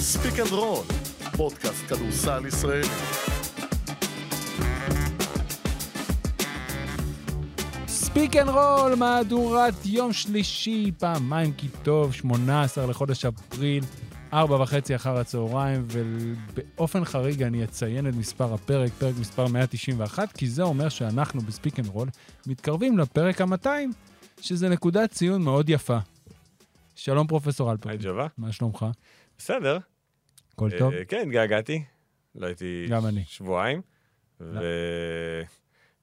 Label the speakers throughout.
Speaker 1: ספיק אנד רול, פודקאסט כדורסל ישראלי.
Speaker 2: ספיק אנד רול, מהדורת יום שלישי, פעמיים כי טוב, 18 לחודש אפריל, ארבע וחצי אחר הצהריים, ובאופן חריג אני אציין את מספר הפרק, פרק מספר 191, כי זה אומר שאנחנו בספיק אנד רול מתקרבים לפרק ה-200, שזה נקודת ציון מאוד יפה. שלום, פרופסור
Speaker 3: היי
Speaker 2: אלפרין.
Speaker 3: ג'ווה,
Speaker 2: מה שלומך?
Speaker 3: בסדר.
Speaker 2: אוקיי. הכל
Speaker 3: אה,
Speaker 2: טוב?
Speaker 3: כן, התגעגעתי. לא הייתי
Speaker 2: גם אני. לא.
Speaker 3: שבועיים. ו-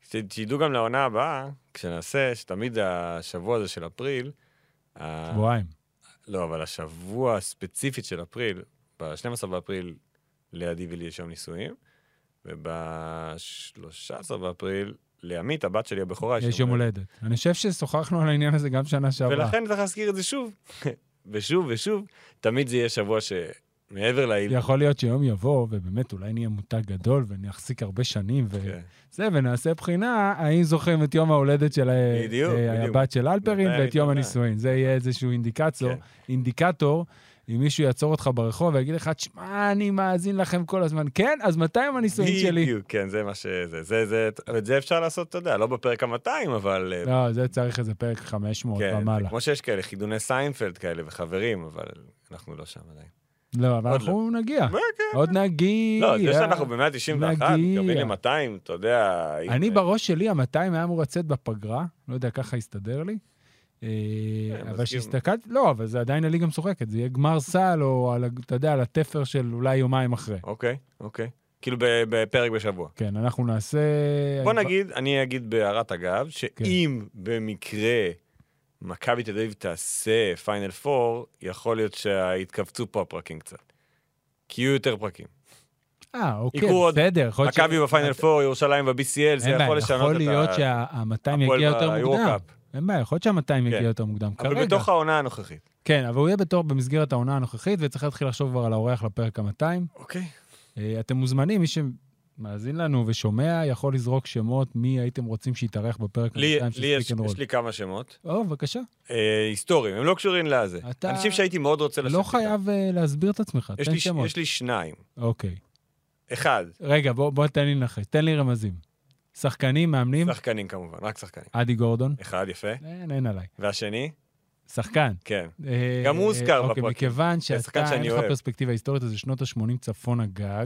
Speaker 3: ש- שידעו גם לעונה הבאה, כשנעשה, שתמיד השבוע הזה של אפריל, ה-
Speaker 2: שבועיים.
Speaker 3: לא, אבל השבוע הספציפית של אפריל, ב-12 באפריל לידי ולי יש יום נישואים, וב-13 באפריל לעמית, הבת שלי הבכורה,
Speaker 2: יש יום הולדת. אני חושב ששוחחנו על העניין הזה גם שנה שעברה.
Speaker 3: ולכן צריך להזכיר את זה שוב, ושוב ושוב, תמיד זה יהיה שבוע שמעבר לעיל...
Speaker 2: יכול להיות שיום יבוא, ובאמת אולי נהיה מותג גדול ונחזיק הרבה שנים,
Speaker 3: כן.
Speaker 2: וזה, ונעשה בחינה האם זוכרים את יום ההולדת של ה-
Speaker 3: בדיוק,
Speaker 2: אה,
Speaker 3: בדיוק.
Speaker 2: הבת של אלפרין
Speaker 3: מתי
Speaker 2: ואת יום
Speaker 3: היית?
Speaker 2: הנישואין. זה יהיה איזשהו אינדיקצור,
Speaker 3: כן.
Speaker 2: אינדיקטור, אם מישהו יעצור אותך ברחוב ויגיד לך, תשמע, אני מאזין לכם כל הזמן. כן, אז מתי יום הנישואין שלי?
Speaker 3: בדיוק, כן, זה מה ש... זה, זה, זה, את זה אפשר לעשות, אתה יודע, לא בפרק ה-200, אבל... אה,
Speaker 2: לא, זה צריך איזה פרק 500
Speaker 3: כן, זה
Speaker 2: ומעלה.
Speaker 3: כמו שיש כאלה חידוני סיינפלד כאלה וחברים, אבל אנחנו לא שם עדיין.
Speaker 2: לא, אבל
Speaker 3: עוד
Speaker 2: אנחנו נגיע.
Speaker 3: מה, כן.
Speaker 2: עוד נגיע.
Speaker 3: לא, זה שאנחנו ב-191,
Speaker 2: נגיע.
Speaker 3: מתקרבים ל-200, אתה יודע...
Speaker 2: אני
Speaker 3: אם-
Speaker 2: בראש שלי, ה-200 היה אמור לצאת בפגרה, לא יודע, ככה הסתדר לי. אה, אבל
Speaker 3: מסכים.
Speaker 2: כשהסתכלתי, לא, אבל זה עדיין הליגה משוחקת, זה יהיה גמר סל, או על, ה- אתה יודע, על התפר של אולי יומיים אחרי.
Speaker 3: אוקיי, אוקיי. כאילו ב- בפרק בשבוע.
Speaker 2: כן, אנחנו נעשה... כן,
Speaker 3: בוא נגיד, אני אגיד בהערת אגב, שאם במקרה מכבי תל אביב תעשה פיינל 4, יכול להיות שיתכווצו פה הפרקים קצת. כי יהיו יותר פרקים.
Speaker 2: אה, אוקיי,
Speaker 3: יקרו עוד
Speaker 2: בסדר. יכול להיות ש- אה,
Speaker 3: מכבי בפיינל 4, ירושלים ב-BCL, זה
Speaker 2: אין בעיה,
Speaker 3: יכול לשנות
Speaker 2: יכול
Speaker 3: את
Speaker 2: להיות שה-200 יגיע יותר מוקדם.
Speaker 3: ב-Euro Cup.
Speaker 2: אין בעיה, יכול להיות שה-200 יגיע
Speaker 3: כן.
Speaker 2: יותר מוקדם.
Speaker 3: אבל
Speaker 2: כרגע,
Speaker 3: בתוך העונה הנוכחית.
Speaker 2: כן, אבל הוא יהיה בתור במסגרת העונה הנוכחית, וצריך להתחיל לחשוב כבר על האורח לפרק ה-200.
Speaker 3: אוקיי.
Speaker 2: אה, אתם מוזמנים, מי שמאזין לנו ושומע, יכול לזרוק שמות מי הייתם רוצים שיתארח בפרק
Speaker 3: לי
Speaker 2: ה-200
Speaker 3: לי יש יש לי כמה שמות
Speaker 2: או, בבקשה.
Speaker 3: אה, היסטוריים, הם לא קשורים לזה.
Speaker 2: אתה
Speaker 3: אנשים שהייתי מאוד רוצה לשבת.
Speaker 2: לא
Speaker 3: איתם.
Speaker 2: חייב אה, להסביר את עצמך,
Speaker 3: יש
Speaker 2: תן
Speaker 3: לי-
Speaker 2: שמות.
Speaker 3: יש לי שניים.
Speaker 2: אוקיי.
Speaker 3: אחד,
Speaker 2: רגע, בוא בוא תן לי לנחש, תן לי רמזים. שחקנים, מאמנים,
Speaker 3: שחקנים כמובן, רק שחקנים.
Speaker 2: אדי גורדון.
Speaker 3: אחד, יפה.
Speaker 2: אין, אין עליי.
Speaker 3: והשני,
Speaker 2: שחקן.
Speaker 3: כן.
Speaker 2: אה,
Speaker 3: גם הוא הוזכר
Speaker 2: אוקיי,
Speaker 3: בפרקים.
Speaker 2: מכיוון
Speaker 3: שחקן
Speaker 2: שאתה, אין
Speaker 3: שאני
Speaker 2: לך
Speaker 3: אוהב.
Speaker 2: פרספקטיבה היסטורית, אז זה שנות ה-80 צפון הגג,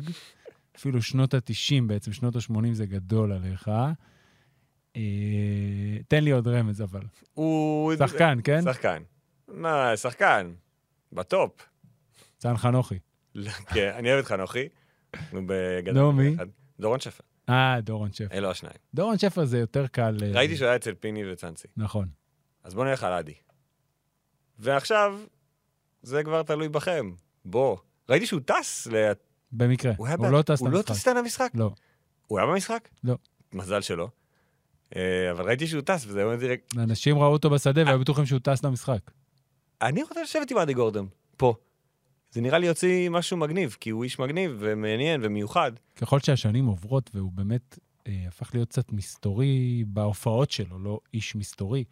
Speaker 2: אפילו שנות ה-90 בעצם, שנות ה-80 זה גדול עליך. אה, תן לי עוד רמז, אבל.
Speaker 3: הוא...
Speaker 2: שחקן, כן?
Speaker 3: שחקן. מה, שחקן. בטופ.
Speaker 2: צאן חנוכי.
Speaker 3: לא, כן, אני אוהב את חנוכי. נו, בגדול.
Speaker 2: נו, מי?
Speaker 3: אחד. דורון שפר.
Speaker 2: אה, דורון שפר.
Speaker 3: אלו השניים.
Speaker 2: דורון שפר זה יותר קל... אה,
Speaker 3: ראיתי שהוא היה אצל פיני וצאנצי.
Speaker 2: נכון.
Speaker 3: אז בואו נלך על אדי. ועכשיו, זה כבר תלוי בכם. בוא. ראיתי שהוא טס, ל...
Speaker 2: במקרה.
Speaker 3: הוא היה
Speaker 2: הוא
Speaker 3: ב-
Speaker 2: לא טס
Speaker 3: הוא לא
Speaker 2: למשחק.
Speaker 3: טס איתנו למשחק?
Speaker 2: לא.
Speaker 3: הוא היה במשחק?
Speaker 2: לא.
Speaker 3: מזל שלא. אה, אבל ראיתי שהוא טס, וזה אומר לי,
Speaker 2: אנשים ראו אותו בשדה
Speaker 3: אה.
Speaker 2: והיו בטוחים שהוא טס למשחק.
Speaker 3: אני רוצה לשבת עם אדי גורדון, פה. זה נראה לי יוציא משהו מגניב, כי הוא איש מגניב ומעניין ומיוחד.
Speaker 2: ככל שהשנים עוברות, והוא באמת אה, הפך להיות קצת מסתורי בהופעות שלו, לא איש מסתורי,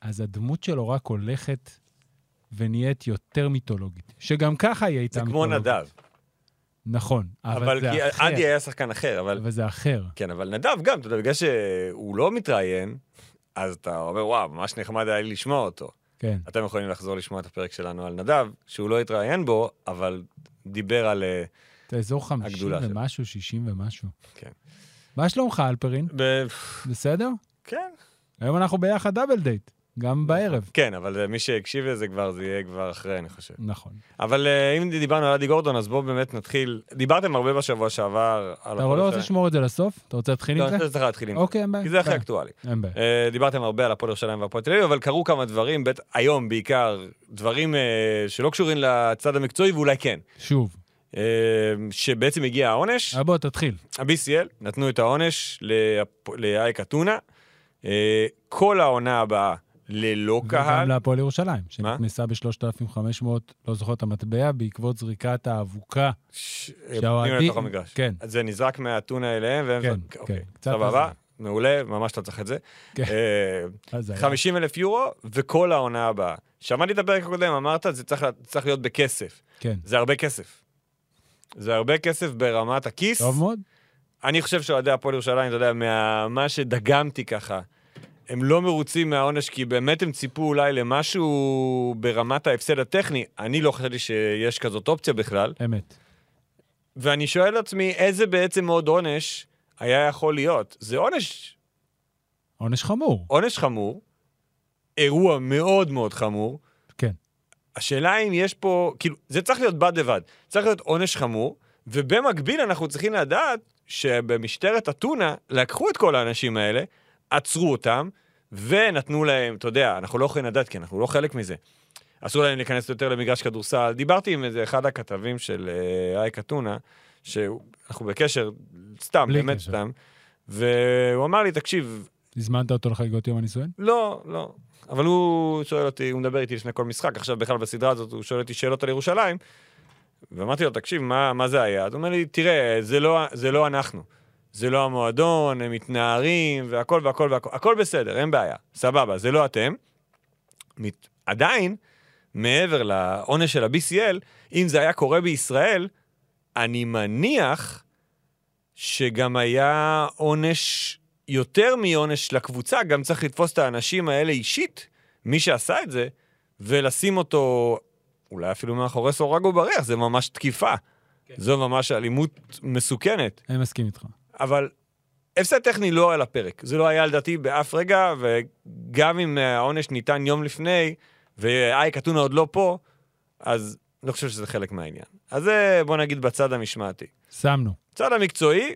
Speaker 2: אז הדמות שלו רק הולכת ונהיית יותר מיתולוגית. שגם ככה היא הייתה
Speaker 3: זה כמו
Speaker 2: מיתולוגית.
Speaker 3: נדב.
Speaker 2: נכון, אבל,
Speaker 3: אבל
Speaker 2: זה
Speaker 3: כי
Speaker 2: אחר.
Speaker 3: אדי היה שחקן אחר, אבל...
Speaker 2: אבל זה אחר.
Speaker 3: כן, אבל נדב גם, אתה יודע, בגלל שהוא לא מתראיין, אז אתה אומר, וואו, ממש נחמד היה לי לשמוע אותו.
Speaker 2: כן,
Speaker 3: אתם יכולים לחזור לשמוע את הפרק שלנו על נדב, שהוא לא התראיין בו, אבל דיבר על... אה,
Speaker 2: זה אזור 50
Speaker 3: הגדולה שלו.
Speaker 2: ומשהו, 60 ומשהו.
Speaker 3: כן.
Speaker 2: מה שלומך, אלפרין?
Speaker 3: ב-
Speaker 2: בסדר?
Speaker 3: כן.
Speaker 2: היום אנחנו ביחד דאבל דייט, גם בערב.
Speaker 3: כן, אבל אה, מי שהקשיב לזה כבר, זה יהיה כבר אחרי, אני חושב.
Speaker 2: נכון.
Speaker 3: אבל אה, אם דיברנו על אדי גורדון, אז בואו באמת נתחיל. דיברתם הרבה בשבוע שעבר על...
Speaker 2: אתה
Speaker 3: הפועל
Speaker 2: לא רוצה
Speaker 3: ירושלים.
Speaker 2: לשמור את זה לסוף? אתה רוצה להתחיל
Speaker 3: לא,
Speaker 2: עם
Speaker 3: אני
Speaker 2: זה?
Speaker 3: חושב שצריך להתחיל עם זה.
Speaker 2: אוקיי, אין בעיה.
Speaker 3: כי זה הכי
Speaker 2: ביי.
Speaker 3: אקטואלי.
Speaker 2: אין בעיה.
Speaker 3: אה, דיברתם הרבה על הפועל ירושלים והפועל תל אביב, אבל קרו כמה דברים, בטח היום בעיקר, דברים אה, שלא קשורים לצד המקצועי, ואולי כן.
Speaker 2: שוב.
Speaker 3: אה, שבעצם הגיע העונש,
Speaker 2: אה, בוא, תתחיל.
Speaker 3: ה-BCL נתנו את העונש להפ- לאייק אתונה. אה, כל העונה הבאה ללא
Speaker 2: וגם
Speaker 3: קהל.
Speaker 2: להפועל ירושלים, שנכנסה ב-3,500, לא זוכר את המטבע, בעקבות זריקת האבוקה.
Speaker 3: ש-
Speaker 2: שהאוהדים-
Speaker 3: פנימה לתוך המגרש.
Speaker 2: כן.
Speaker 3: אז זה נזרק מהאתונה אליהם, והם...
Speaker 2: כן,
Speaker 3: זרק- אוקיי.
Speaker 2: כן, קצת
Speaker 3: סבבה,
Speaker 2: הזוי.
Speaker 3: מעולה, ממש לא צריך את זה.
Speaker 2: כן.
Speaker 3: אה,
Speaker 2: אז זה היה-
Speaker 3: 50 אלף יורו וכל העונה הבאה. שמעתי את הפרק הקודם, אמרת, זה צריך, זה צריך להיות בכסף.
Speaker 2: כן,
Speaker 3: זה הרבה כסף. זה הרבה כסף ברמת הכיס.
Speaker 2: טוב מאוד.
Speaker 3: אני חושב שאוהדי הפועל ירושלים, אתה יודע, מה מה שדגמתי ככה, הם לא מרוצים מהעונש, כי באמת הם ציפו אולי למשהו ברמת ההפסד הטכני. אני לא חשבתי שיש כזאת אופציה בכלל.
Speaker 2: אמת.
Speaker 3: ואני שואל את עצמי, איזה בעצם עוד עונש היה יכול להיות? זה עונש,
Speaker 2: עונש חמור.
Speaker 3: עונש חמור, אירוע מאוד מאוד חמור.
Speaker 2: כן.
Speaker 3: השאלה אם יש פה, כאילו, זה צריך להיות בד בבד. צריך להיות עונש חמור, ובמקביל אנחנו צריכים לדעת שבמשטרת אתונה לקחו את כל האנשים האלה, עצרו אותם, ונתנו להם, אתה יודע, אנחנו לא יכולים לדעת כי אנחנו לא חלק מזה. אסור להם להיכנס יותר למגרש כדורסל. דיברתי עם איזה אחד הכתבים של אה, אייק אתונה, שאנחנו בקשר, סתם,
Speaker 2: בלי
Speaker 3: באמת
Speaker 2: קשר.
Speaker 3: סתם, והוא אמר לי, תקשיב,
Speaker 2: הזמנת אותו לחגיגות יום הנישואין?
Speaker 3: לא, לא. אבל הוא שואל אותי, הוא מדבר איתי לפני כל משחק, עכשיו בכלל בסדרה הזאת הוא שואל אותי שאלות על ירושלים. ואמרתי לו, תקשיב, מה, מה זה היה? אז הוא אומר לי, תראה, זה לא, זה לא אנחנו. זה לא המועדון, הם מתנערים, והכל והכל והכל, הכל בסדר, אין בעיה, סבבה, זה לא אתם. מת... עדיין, מעבר לעונש של ה-BCL, אם זה היה קורה בישראל, אני מניח שגם היה עונש יותר מעונש לקבוצה, גם צריך לתפוס את האנשים האלה אישית, מי שעשה את זה, ולשים אותו אולי אפילו מאחורי סורג ובריח, זה ממש תקיפה. כן. זו ממש אלימות מסוכנת.
Speaker 2: אני מסכים איתך.
Speaker 3: אבל הפסד טכני לא על הפרק. זה לא היה לדעתי באף רגע, וגם אם העונש ניתן יום לפני, ואייק אתונה עוד לא פה, אז לא חושב שזה חלק מהעניין. אז זה, בוא נגיד, בצד המשמעתי.
Speaker 2: שמנו.
Speaker 3: צד המקצועי,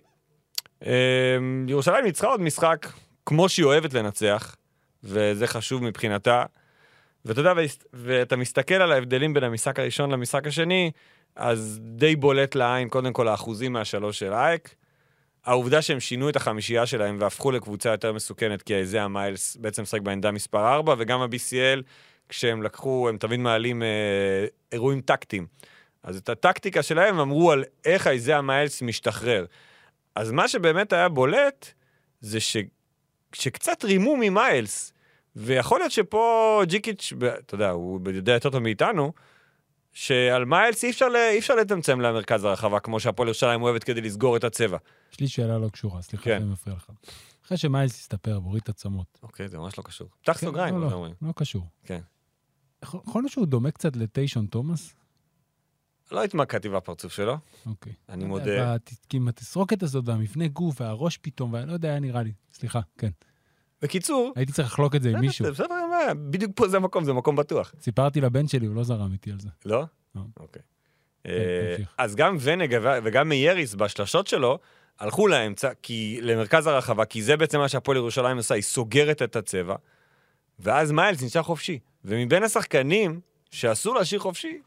Speaker 3: אמ, ירושלים ניצחה עוד משחק כמו שהיא אוהבת לנצח, וזה חשוב מבחינתה. ואתה יודע, והס- ואתה מסתכל על ההבדלים בין המשחק הראשון למשחק השני, אז די בולט לעין קודם כל האחוזים מהשלוש של אייק. העובדה שהם שינו את החמישייה שלהם והפכו לקבוצה יותר מסוכנת, כי זה המיילס בעצם משחק בעמדה מספר 4, וגם ה-BCL, כשהם לקחו, הם תמיד מעלים אה, אירועים טקטיים. אז את הטקטיקה שלהם אמרו על איך איזה המיילס משתחרר. אז מה שבאמת היה בולט, זה ש... שקצת רימו ממיילס, ויכול להיות שפה ג'יקיץ', ב- אתה יודע, הוא יודע יותר טוב מאיתנו, שעל מיילס אי אפשר, ל... אי אפשר לצמצם למרכז הרחבה, כמו שהפועל ירושלים אוהבת כדי לסגור את הצבע.
Speaker 2: יש לי שאלה לא קשורה, סליחה
Speaker 3: כן.
Speaker 2: שאני מפריע לך. אחרי שמיילס הסתפר והוריד את הצמות.
Speaker 3: אוקיי, זה ממש לא קשור. פתח סוגריים,
Speaker 2: כן, לא,
Speaker 3: מה
Speaker 2: לא,
Speaker 3: אומרים.
Speaker 2: לא קשור.
Speaker 3: כן.
Speaker 2: יכול יכול להיות שהוא דומה קצת לטיישון תומאס?
Speaker 3: לא התמקדתי בפרצוף שלו,
Speaker 2: אוקיי.
Speaker 3: אני
Speaker 2: אתה יודע,
Speaker 3: מודה.
Speaker 2: והת- עם התסרוקת הזאת והמבנה גוף והראש פתאום, ואני לא יודע, היה נראה לי. סליחה, כן.
Speaker 3: בקיצור,
Speaker 2: הייתי צריך לחלוק את זה עם מישהו.
Speaker 3: בסדר, בסדר, אין בעיה. בדיוק פה זה המקום, זה מקום בטוח.
Speaker 2: סיפרתי לבן שלי, הוא לא זרם איתי על זה.
Speaker 3: לא?
Speaker 2: לא.
Speaker 3: אוקיי.
Speaker 2: כן,
Speaker 3: אה,
Speaker 2: תמשיך.
Speaker 3: אז גם ונג וגם מייריס בשלשות שלו, הלכו לאמצע, כי, למרכז הרחבה, כי זה בעצם מה שהפועל ירושלים עושה, היא סוגרת את הצבע, ואז מיילס נשאר חופשי. ומבין השחקנים שאסור להשאיר חופשי,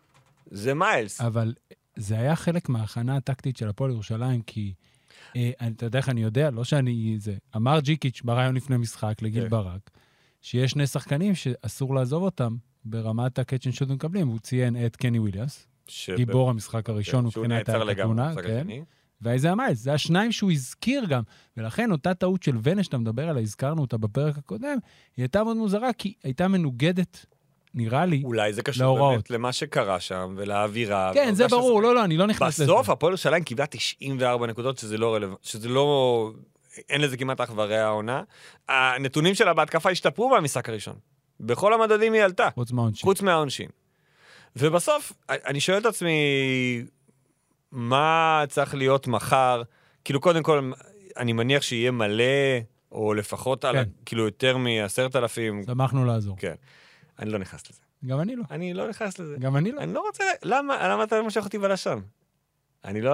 Speaker 3: זה מיילס.
Speaker 2: אבל זה היה חלק מההכנה הטקטית של הפועל ירושלים, כי אה, אני- אתה יודע איך אני יודע, לא שאני... זה, אמר ג'יקיץ' בריאיון לפני משחק לגיל
Speaker 3: כן.
Speaker 2: ברק, שיש שני שחקנים שאסור לעזוב אותם ברמת הקאצ'ן שאתם מקבלים. הוא ציין את קני וויליאמס,
Speaker 3: ש-
Speaker 2: גיבור המשחק הראשון
Speaker 3: כן, שהוא
Speaker 2: מבחינת
Speaker 3: נעצר לגמרי
Speaker 2: התמונה,
Speaker 3: במשחק
Speaker 2: כן.
Speaker 3: השני.
Speaker 2: ואיזה המיילס, זה השניים שהוא הזכיר גם. ולכן אותה טעות של ונה שאתה מדבר עליה, הזכרנו אותה בפרק הקודם, היא הייתה מאוד מוזרה, כי הייתה מנוגדת, נראה לי.
Speaker 3: אולי זה קשור
Speaker 2: להוראות.
Speaker 3: באמת למה שקרה שם, ולאווירה.
Speaker 2: כן, זה
Speaker 3: והעובדה שזה-
Speaker 2: ברור, לא, לא, אני לא נכנס לזה.
Speaker 3: בסוף הפועל ירושלים קיבלה 94 נקודות, שזה לא רלוונטי, שזה לא... אין לזה כמעט אח ורע העונה. הנתונים שלה בהתקפה השתפרו מהמשחק הראשון. בכל המדדים היא עלתה,
Speaker 2: חוץ מהעונשין.
Speaker 3: חוץ מהעונשין. ובסוף, אני שואל את עצמי, מה צריך להיות מחר? כאילו, קודם כל, אני מניח שיהיה מלא, או לפחות, על,
Speaker 2: כן.
Speaker 3: כאילו, יותר מ-10,000.
Speaker 2: שמחנו לעזור.
Speaker 3: כן. אני לא נכנס לזה.
Speaker 2: גם אני לא.
Speaker 3: אני לא נכנס לזה.
Speaker 2: גם אני לא.
Speaker 3: אני לא רוצה... למה, למה אתה מושך אותי בלשון? אני לא...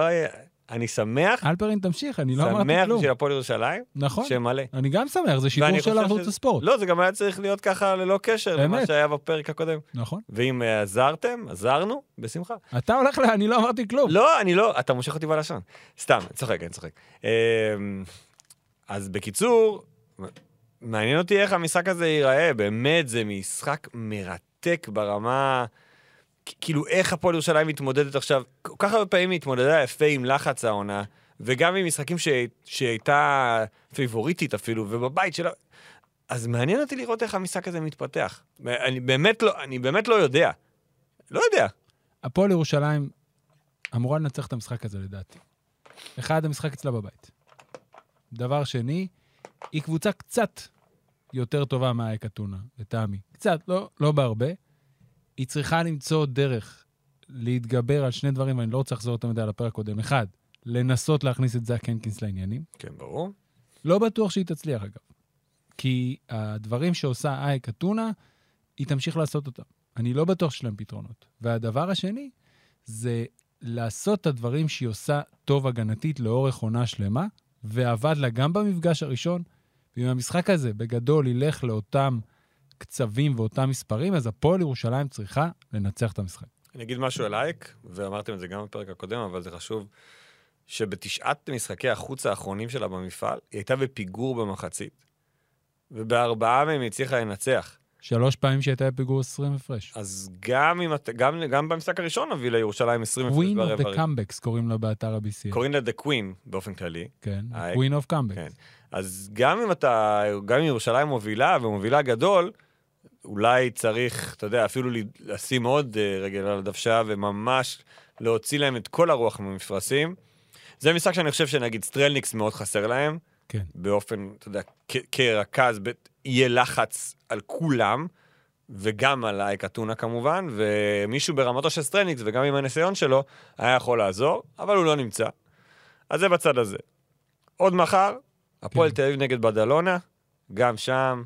Speaker 3: אני שמח,
Speaker 2: אלפרין, תמשיך, אני לא אמרתי
Speaker 3: שמח
Speaker 2: כלום.
Speaker 3: בשביל הפועל ירושלים,
Speaker 2: נכון.
Speaker 3: שמלא.
Speaker 2: אני גם שמח, זה שידור
Speaker 3: ואני
Speaker 2: של
Speaker 3: חושב
Speaker 2: ערוץ
Speaker 3: שזה-
Speaker 2: הספורט.
Speaker 3: לא, זה גם היה צריך להיות ככה ללא קשר למה
Speaker 2: באמת.
Speaker 3: שהיה בפרק הקודם.
Speaker 2: נכון.
Speaker 3: ואם אה, עזרתם, עזרנו, בשמחה.
Speaker 2: אתה הולך ל... אני לא אמרתי כלום.
Speaker 3: לא, אני לא, אתה מושך אותי בלשון. סתם, אני צוחק, אני צוחק. אמ, אז בקיצור, מעניין אותי איך המשחק הזה ייראה, באמת, זה משחק מרתק ברמה... כ- כאילו, איך הפועל ירושלים מתמודדת עכשיו, כל כך הרבה פעמים היא התמודדה יפה עם לחץ העונה, וגם עם משחקים ש... שהייתה פיבוריטית אפילו, ובבית שלה... אז מעניין אותי לראות איך המשחק הזה מתפתח. אני באמת לא, אני באמת לא יודע. לא יודע.
Speaker 2: הפועל ירושלים, אמורה לנצח את המשחק הזה, לדעתי. אחד, המשחק אצלה בבית. דבר שני, היא קבוצה קצת יותר טובה מהאייק אתונה, לטעמי. קצת, לא, לא בהרבה. היא צריכה למצוא דרך להתגבר על שני דברים, ואני לא רוצה לחזור יותר מדי על הפרק הקודם. אחד, לנסות להכניס את זאק הנקינס לעניינים.
Speaker 3: כן, ברור.
Speaker 2: לא בטוח שהיא תצליח, אגב. כי הדברים שעושה אייק אתונה, היא תמשיך לעשות אותם. אני לא בטוח שיש להם פתרונות. והדבר השני, זה לעשות את הדברים שהיא עושה טוב הגנתית לאורך עונה שלמה, ועבד לה גם במפגש הראשון, ואם המשחק הזה בגדול ילך לאותם קצבים ואותם מספרים, אז הפועל ירושלים צריכה לנצח את המשחק.
Speaker 3: אני אגיד משהו על אייק, ואמרתם את זה גם בפרק הקודם, אבל זה חשוב, שבתשעת משחקי החוץ האחרונים שלה במפעל, היא הייתה בפיגור במחצית, ובארבעה מהם היא הצליחה לנצח.
Speaker 2: שלוש פעמים שהייתה בפיגור 20 הפרש.
Speaker 3: אז גם, אם, את- גם, גם במשחק הראשון הביא לירושלים 20 הפרש
Speaker 2: Queen of
Speaker 3: ברבע
Speaker 2: the
Speaker 3: הראשון.
Speaker 2: Comebacks קוראים לה באתר ה-BCA.
Speaker 3: קוראים לה The Queen באופן כללי.
Speaker 2: כן,
Speaker 3: אה,
Speaker 2: Queen of
Speaker 3: כן.
Speaker 2: Comebacks.
Speaker 3: אז גם אם אתה, גם אם ירושלים מובילה ומובילה גדול, אולי צריך, אתה יודע, אפילו ל- לשים עוד אה, רגל על הדוושה וממש להוציא להם את כל הרוח מהמפרשים. זה משחק שאני חושב שנגיד סטרלניקס מאוד חסר להם,
Speaker 2: כן.
Speaker 3: באופן, אתה יודע, כ- כרכז, ב- יהיה לחץ על כולם, וגם על אייק אתונה כמובן, ומישהו ברמתו של סטרלניקס, וגם עם הניסיון שלו, היה יכול לעזור, אבל הוא לא נמצא. אז זה בצד הזה. עוד מחר, הפועל
Speaker 2: כן.
Speaker 3: תל אביב נגד בדלונה, גם שם.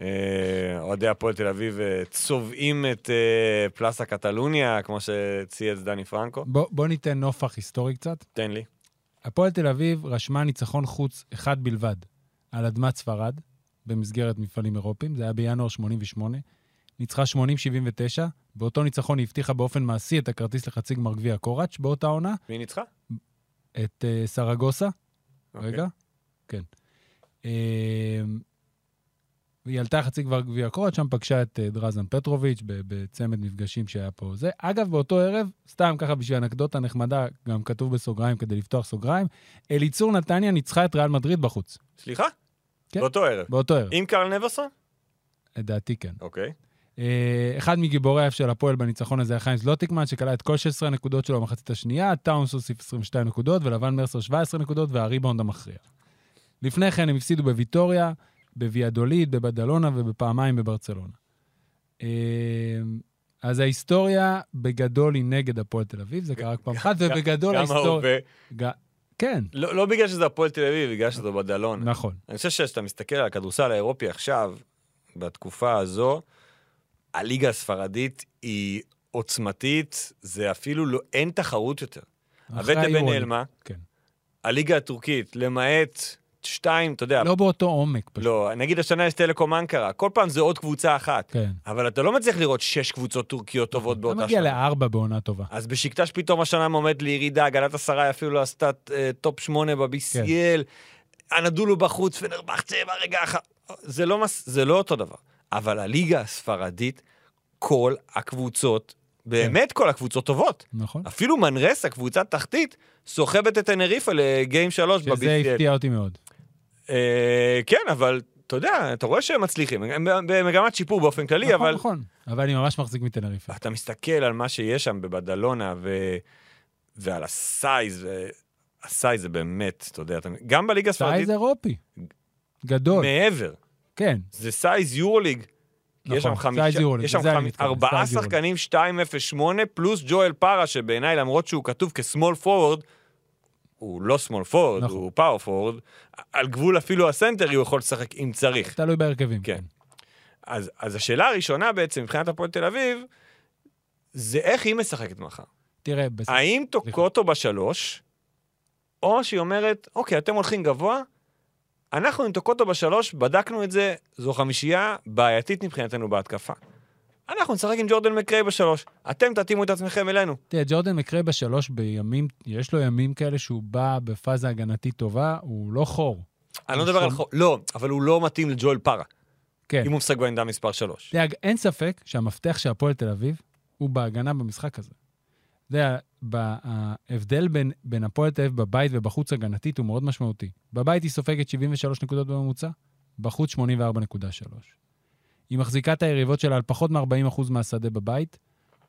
Speaker 3: אה, אוהדי הפועל תל אביב אה, צובעים את אה, פלאסה קטלוניה, כמו שצייץ דני פרנקו.
Speaker 2: בוא בוא ניתן נופח היסטורי קצת.
Speaker 3: תן לי.
Speaker 2: הפועל תל אביב רשמה ניצחון חוץ אחד בלבד על אדמת ספרד במסגרת מפעלים אירופיים, זה היה בינואר 88. ניצחה 80-79, באותו ניצחון היא הבטיחה באופן מעשי את הכרטיס לחצי גמר גביע קוראץ' באותה עונה,
Speaker 3: מי ניצחה?
Speaker 2: את אה, סרגוסה,
Speaker 3: אוקיי.
Speaker 2: רגע, כן. אה, היא עלתה חצי גמר גביע קוראץ', שם פגשה את אה, דרזן פטרוביץ' ב- בצמד מפגשים שהיה פה. זה, אגב, באותו ערב, סתם ככה בשביל אנקדוטה נחמדה, גם כתוב בסוגריים כדי לפתוח סוגריים, אליצור נתניה ניצחה את ריאל מדריד בחוץ,
Speaker 3: סליחה?
Speaker 2: כן.
Speaker 3: באותו ערב.
Speaker 2: באותו ערב,
Speaker 3: עם קרל נברסון?
Speaker 2: לדעתי כן.
Speaker 3: אוקיי.
Speaker 2: אה, אחד מגיבורי האף של הפועל בניצחון הזה היה חיים זלוטיקמן, שכלל את כל 16 הנקודות שלו במחצית השנייה, טאונס הוסיף 22 נקודות, ולבן מרסר 17 נקודות, והריבאונד המכריע. לפני כן הם הפסידו בוויטוריה, בוויאדוליד, בבדלונה ובפעמיים בברצלונה. אה, אז ההיסטוריה בגדול היא נגד הפועל תל אביב, זה קרה רק פעם אחת, ובגדול
Speaker 3: גם
Speaker 2: ההיסטוריה...
Speaker 3: ההווה.
Speaker 2: גם כן,
Speaker 3: לא לא בגלל שזה הפועל תל אביב, בגלל שזה בדלון.
Speaker 2: נכון.
Speaker 3: אני חושב שכשאתה מסתכל על הכדורסל האירופי עכשיו, בתקופה הזו, הליגה הספרדית היא עוצמתית, זה אפילו לא, אין תחרות יותר.
Speaker 2: אחרי
Speaker 3: הווטבן
Speaker 2: היורוליג,
Speaker 3: נעלמה,
Speaker 2: כן.
Speaker 3: הליגה הטורקית, למעט שתיים, אתה יודע,
Speaker 2: לא באותו עומק פשוט.
Speaker 3: לא, נגיד השנה יש טלקום אנקרה, כל פעם זה עוד קבוצה אחת.
Speaker 2: כן.
Speaker 3: אבל אתה לא מצליח לראות שש קבוצות טורקיות טובות
Speaker 2: אתה
Speaker 3: באותה
Speaker 2: לא מגיע
Speaker 3: שנה.
Speaker 2: לארבע בעונה טובה.
Speaker 3: אז בשקטש פתאום השנה עומד לירידה, גלת עשרה היא אפילו לא עשתה אה, טופ שמונה
Speaker 2: כן.
Speaker 3: ב-BCL, הנדולו בחוץ, פנרבחצה ברגע אחר. זה לא, מס, זה לא אותו דבר. אבל הליגה הספרדית, כל הקבוצות, באמת כל הקבוצות טובות.
Speaker 2: נכון.
Speaker 3: אפילו מנרסה, קבוצת תחתית, סוחבת את תנריפה לגיים שלוש ב-BCL.
Speaker 2: שזה הפתיע אותי מאוד.
Speaker 3: אה, כן, אבל אתה יודע, אתה רואה שהם מצליחים. הם במגמת שיפור באופן כללי,
Speaker 2: נכון,
Speaker 3: אבל...
Speaker 2: נכון, אבל אני ממש מחזיק מטנריפה.
Speaker 3: אתה מסתכל על מה שיש שם בבדלונה ו... ועל הסייז, ו... הסייז זה באמת, אתה יודע, אתה... גם בליגה הספרדית,
Speaker 2: סייז אירופי. גדול,
Speaker 3: מעבר.
Speaker 2: כן.
Speaker 3: זה סייז יורוליג. כי יש
Speaker 2: נכון,
Speaker 3: שם חמישה,
Speaker 2: סייז יורוליג,
Speaker 3: יש שם
Speaker 2: לזה אני
Speaker 3: חמ...
Speaker 2: מתכוון,
Speaker 3: ארבעה
Speaker 2: סייז
Speaker 3: שחקנים 208 פלוס ג'ואל פארה, שבעיניי למרות שהוא כתוב כסמול פורוורד, הוא לא סמול פורוורד,
Speaker 2: נכון.
Speaker 3: הוא פאור פורוורד, על גבול אפילו הסנטר הוא יכול לשחק אם צריך.
Speaker 2: תלוי בהרכבים.
Speaker 3: כן. אז, אז השאלה הראשונה בעצם, מבחינת הפועל תל אביב, זה איך היא משחקת מחר.
Speaker 2: תראה, בס-
Speaker 3: האם טוקוטו בשלוש, או שהיא אומרת, אוקיי, אתם הולכים גבוה, אנחנו עם טוקוטו בשלוש, בדקנו את זה, זו חמישייה בעייתית מבחינתנו בהתקפה. אנחנו נשחק עם ג'ורדן מקריי בשלוש, אתם תתאימו את עצמכם אלינו.
Speaker 2: תראה, ג'ורדן מקרי בשלוש בימים, יש לו ימים כאלה שהוא בא בפאזה הגנתית טובה, הוא לא חור.
Speaker 3: אני לא מדבר על
Speaker 2: שום-
Speaker 3: חור, לא, אבל הוא לא מתאים לג'ואל פארה,
Speaker 2: נכון. כן.
Speaker 3: אם הוא משחק בעמדה מספר שלוש.
Speaker 2: תראה, אין ספק שהמפתח של הפועל תל אביב הוא בהגנה במשחק הזה. אתה יודע, ב- ההבדל בין, בין הפועל תל אביב בבית ובחוץ הגנתית הוא מאוד משמעותי. בבית היא סופגת 73 נקודות בממוצע, בחוץ 84.3. היא מחזיקה את היריבות שלה על פחות מ-40% מהשדה בבית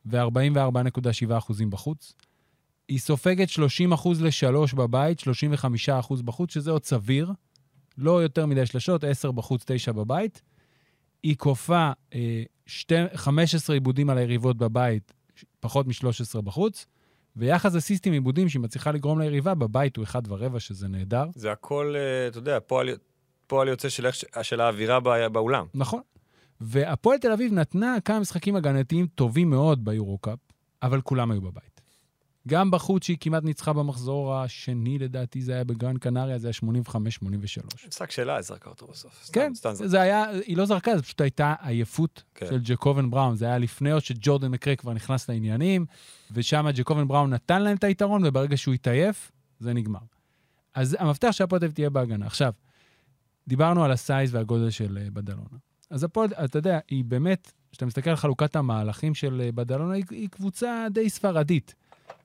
Speaker 2: ו-44.7% בחוץ. היא סופגת 30% ל-3 בבית, 35% בחוץ, שזה עוד סביר. לא יותר מדי שלשות, 10 בחוץ, 9 בבית. היא כופה אה, שתי, 15 עיבודים על היריבות בבית, ש- פחות מ-13 בחוץ, ויחס הסיסטים עיבודים שהיא מצליחה לגרום ליריבה, בבית הוא 1 ורבע, שזה נהדר.
Speaker 3: זה הכל, אה, אתה יודע, פועל, פועל יוצא של, איך ש- של האווירה בא- באולם.
Speaker 2: נכון. והפועל תל אביב נתנה כמה משחקים הגנתיים טובים מאוד ביורו-קאפ, אבל כולם היו בבית. גם בחוץ שהיא כמעט ניצחה במחזור השני, לדעתי זה היה בגרן קנריה, זה היה 85-83.
Speaker 3: משחק שלה, אז זרקה אותו בסוף. סתם,
Speaker 2: כן,
Speaker 3: סתם זרקה.
Speaker 2: זה היה, היא לא זרקה, זו פשוט הייתה עייפות
Speaker 3: כן.
Speaker 2: של ג'קובן בראון. זה היה לפני עוד שג'ורדן מקרה כבר נכנס לעניינים, ושם ג'קובן בראון נתן להם את היתרון, וברגע שהוא התעייף, זה נגמר. אז המפתח של הפועל תל אביב תהיה בהגנה. עכשיו, דיברנו על הסייז והגודל של אה, בדלונה. אז הפועל, אתה יודע, היא באמת, כשאתה מסתכל על חלוקת המהלכים של אה, בדלונה, היא, היא קבוצה די ספרדית.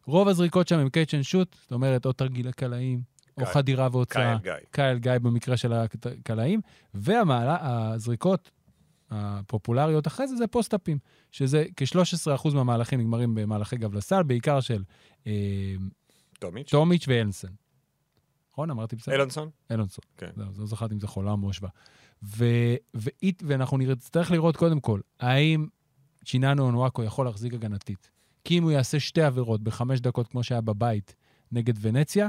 Speaker 2: רוב הזריקות שם הם קייצ' אנד שוט, זאת אומרת, או תרגיל הקלעים, או
Speaker 3: קייל.
Speaker 2: חדירה והוצאה.
Speaker 3: קייל גיא.
Speaker 2: קייל גיא במקרה של הקלעים, והזריקות הפופולריות אחרי זה זה פוסט-אפים, שזה כ-13% מהמהלכים נגמרים במהלכי גב לסל, בעיקר של אה,
Speaker 3: טומיץ'.
Speaker 2: טומיץ' ואלנסון. נכון? אמרתי בסדר?
Speaker 3: אילונסון?
Speaker 2: אלונסון.
Speaker 3: כן.
Speaker 2: זהו, אז לא זכרתי אם זה חולם או השוואה. ו... ואית, ואנחנו נצטרך לראות קודם כל, האם צ'יננו אונואקו יכול להחזיק הגנתית? כי אם הוא יעשה שתי עבירות בחמש דקות, כמו שהיה בבית נגד ונציה,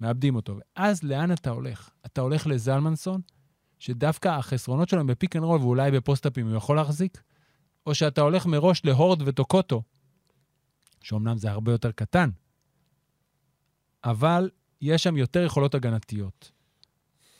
Speaker 2: מאבדים אותו. ואז לאן אתה הולך? אתה הולך לזלמנסון, שדווקא החסרונות שלו הם בפיק אנד רול ואולי בפוסט-אפים הוא יכול להחזיק, או שאתה הולך מראש להורד וטוקוטו, שאומנם זה הרבה יותר קטן, אבל יש שם יותר יכולות הגנתיות.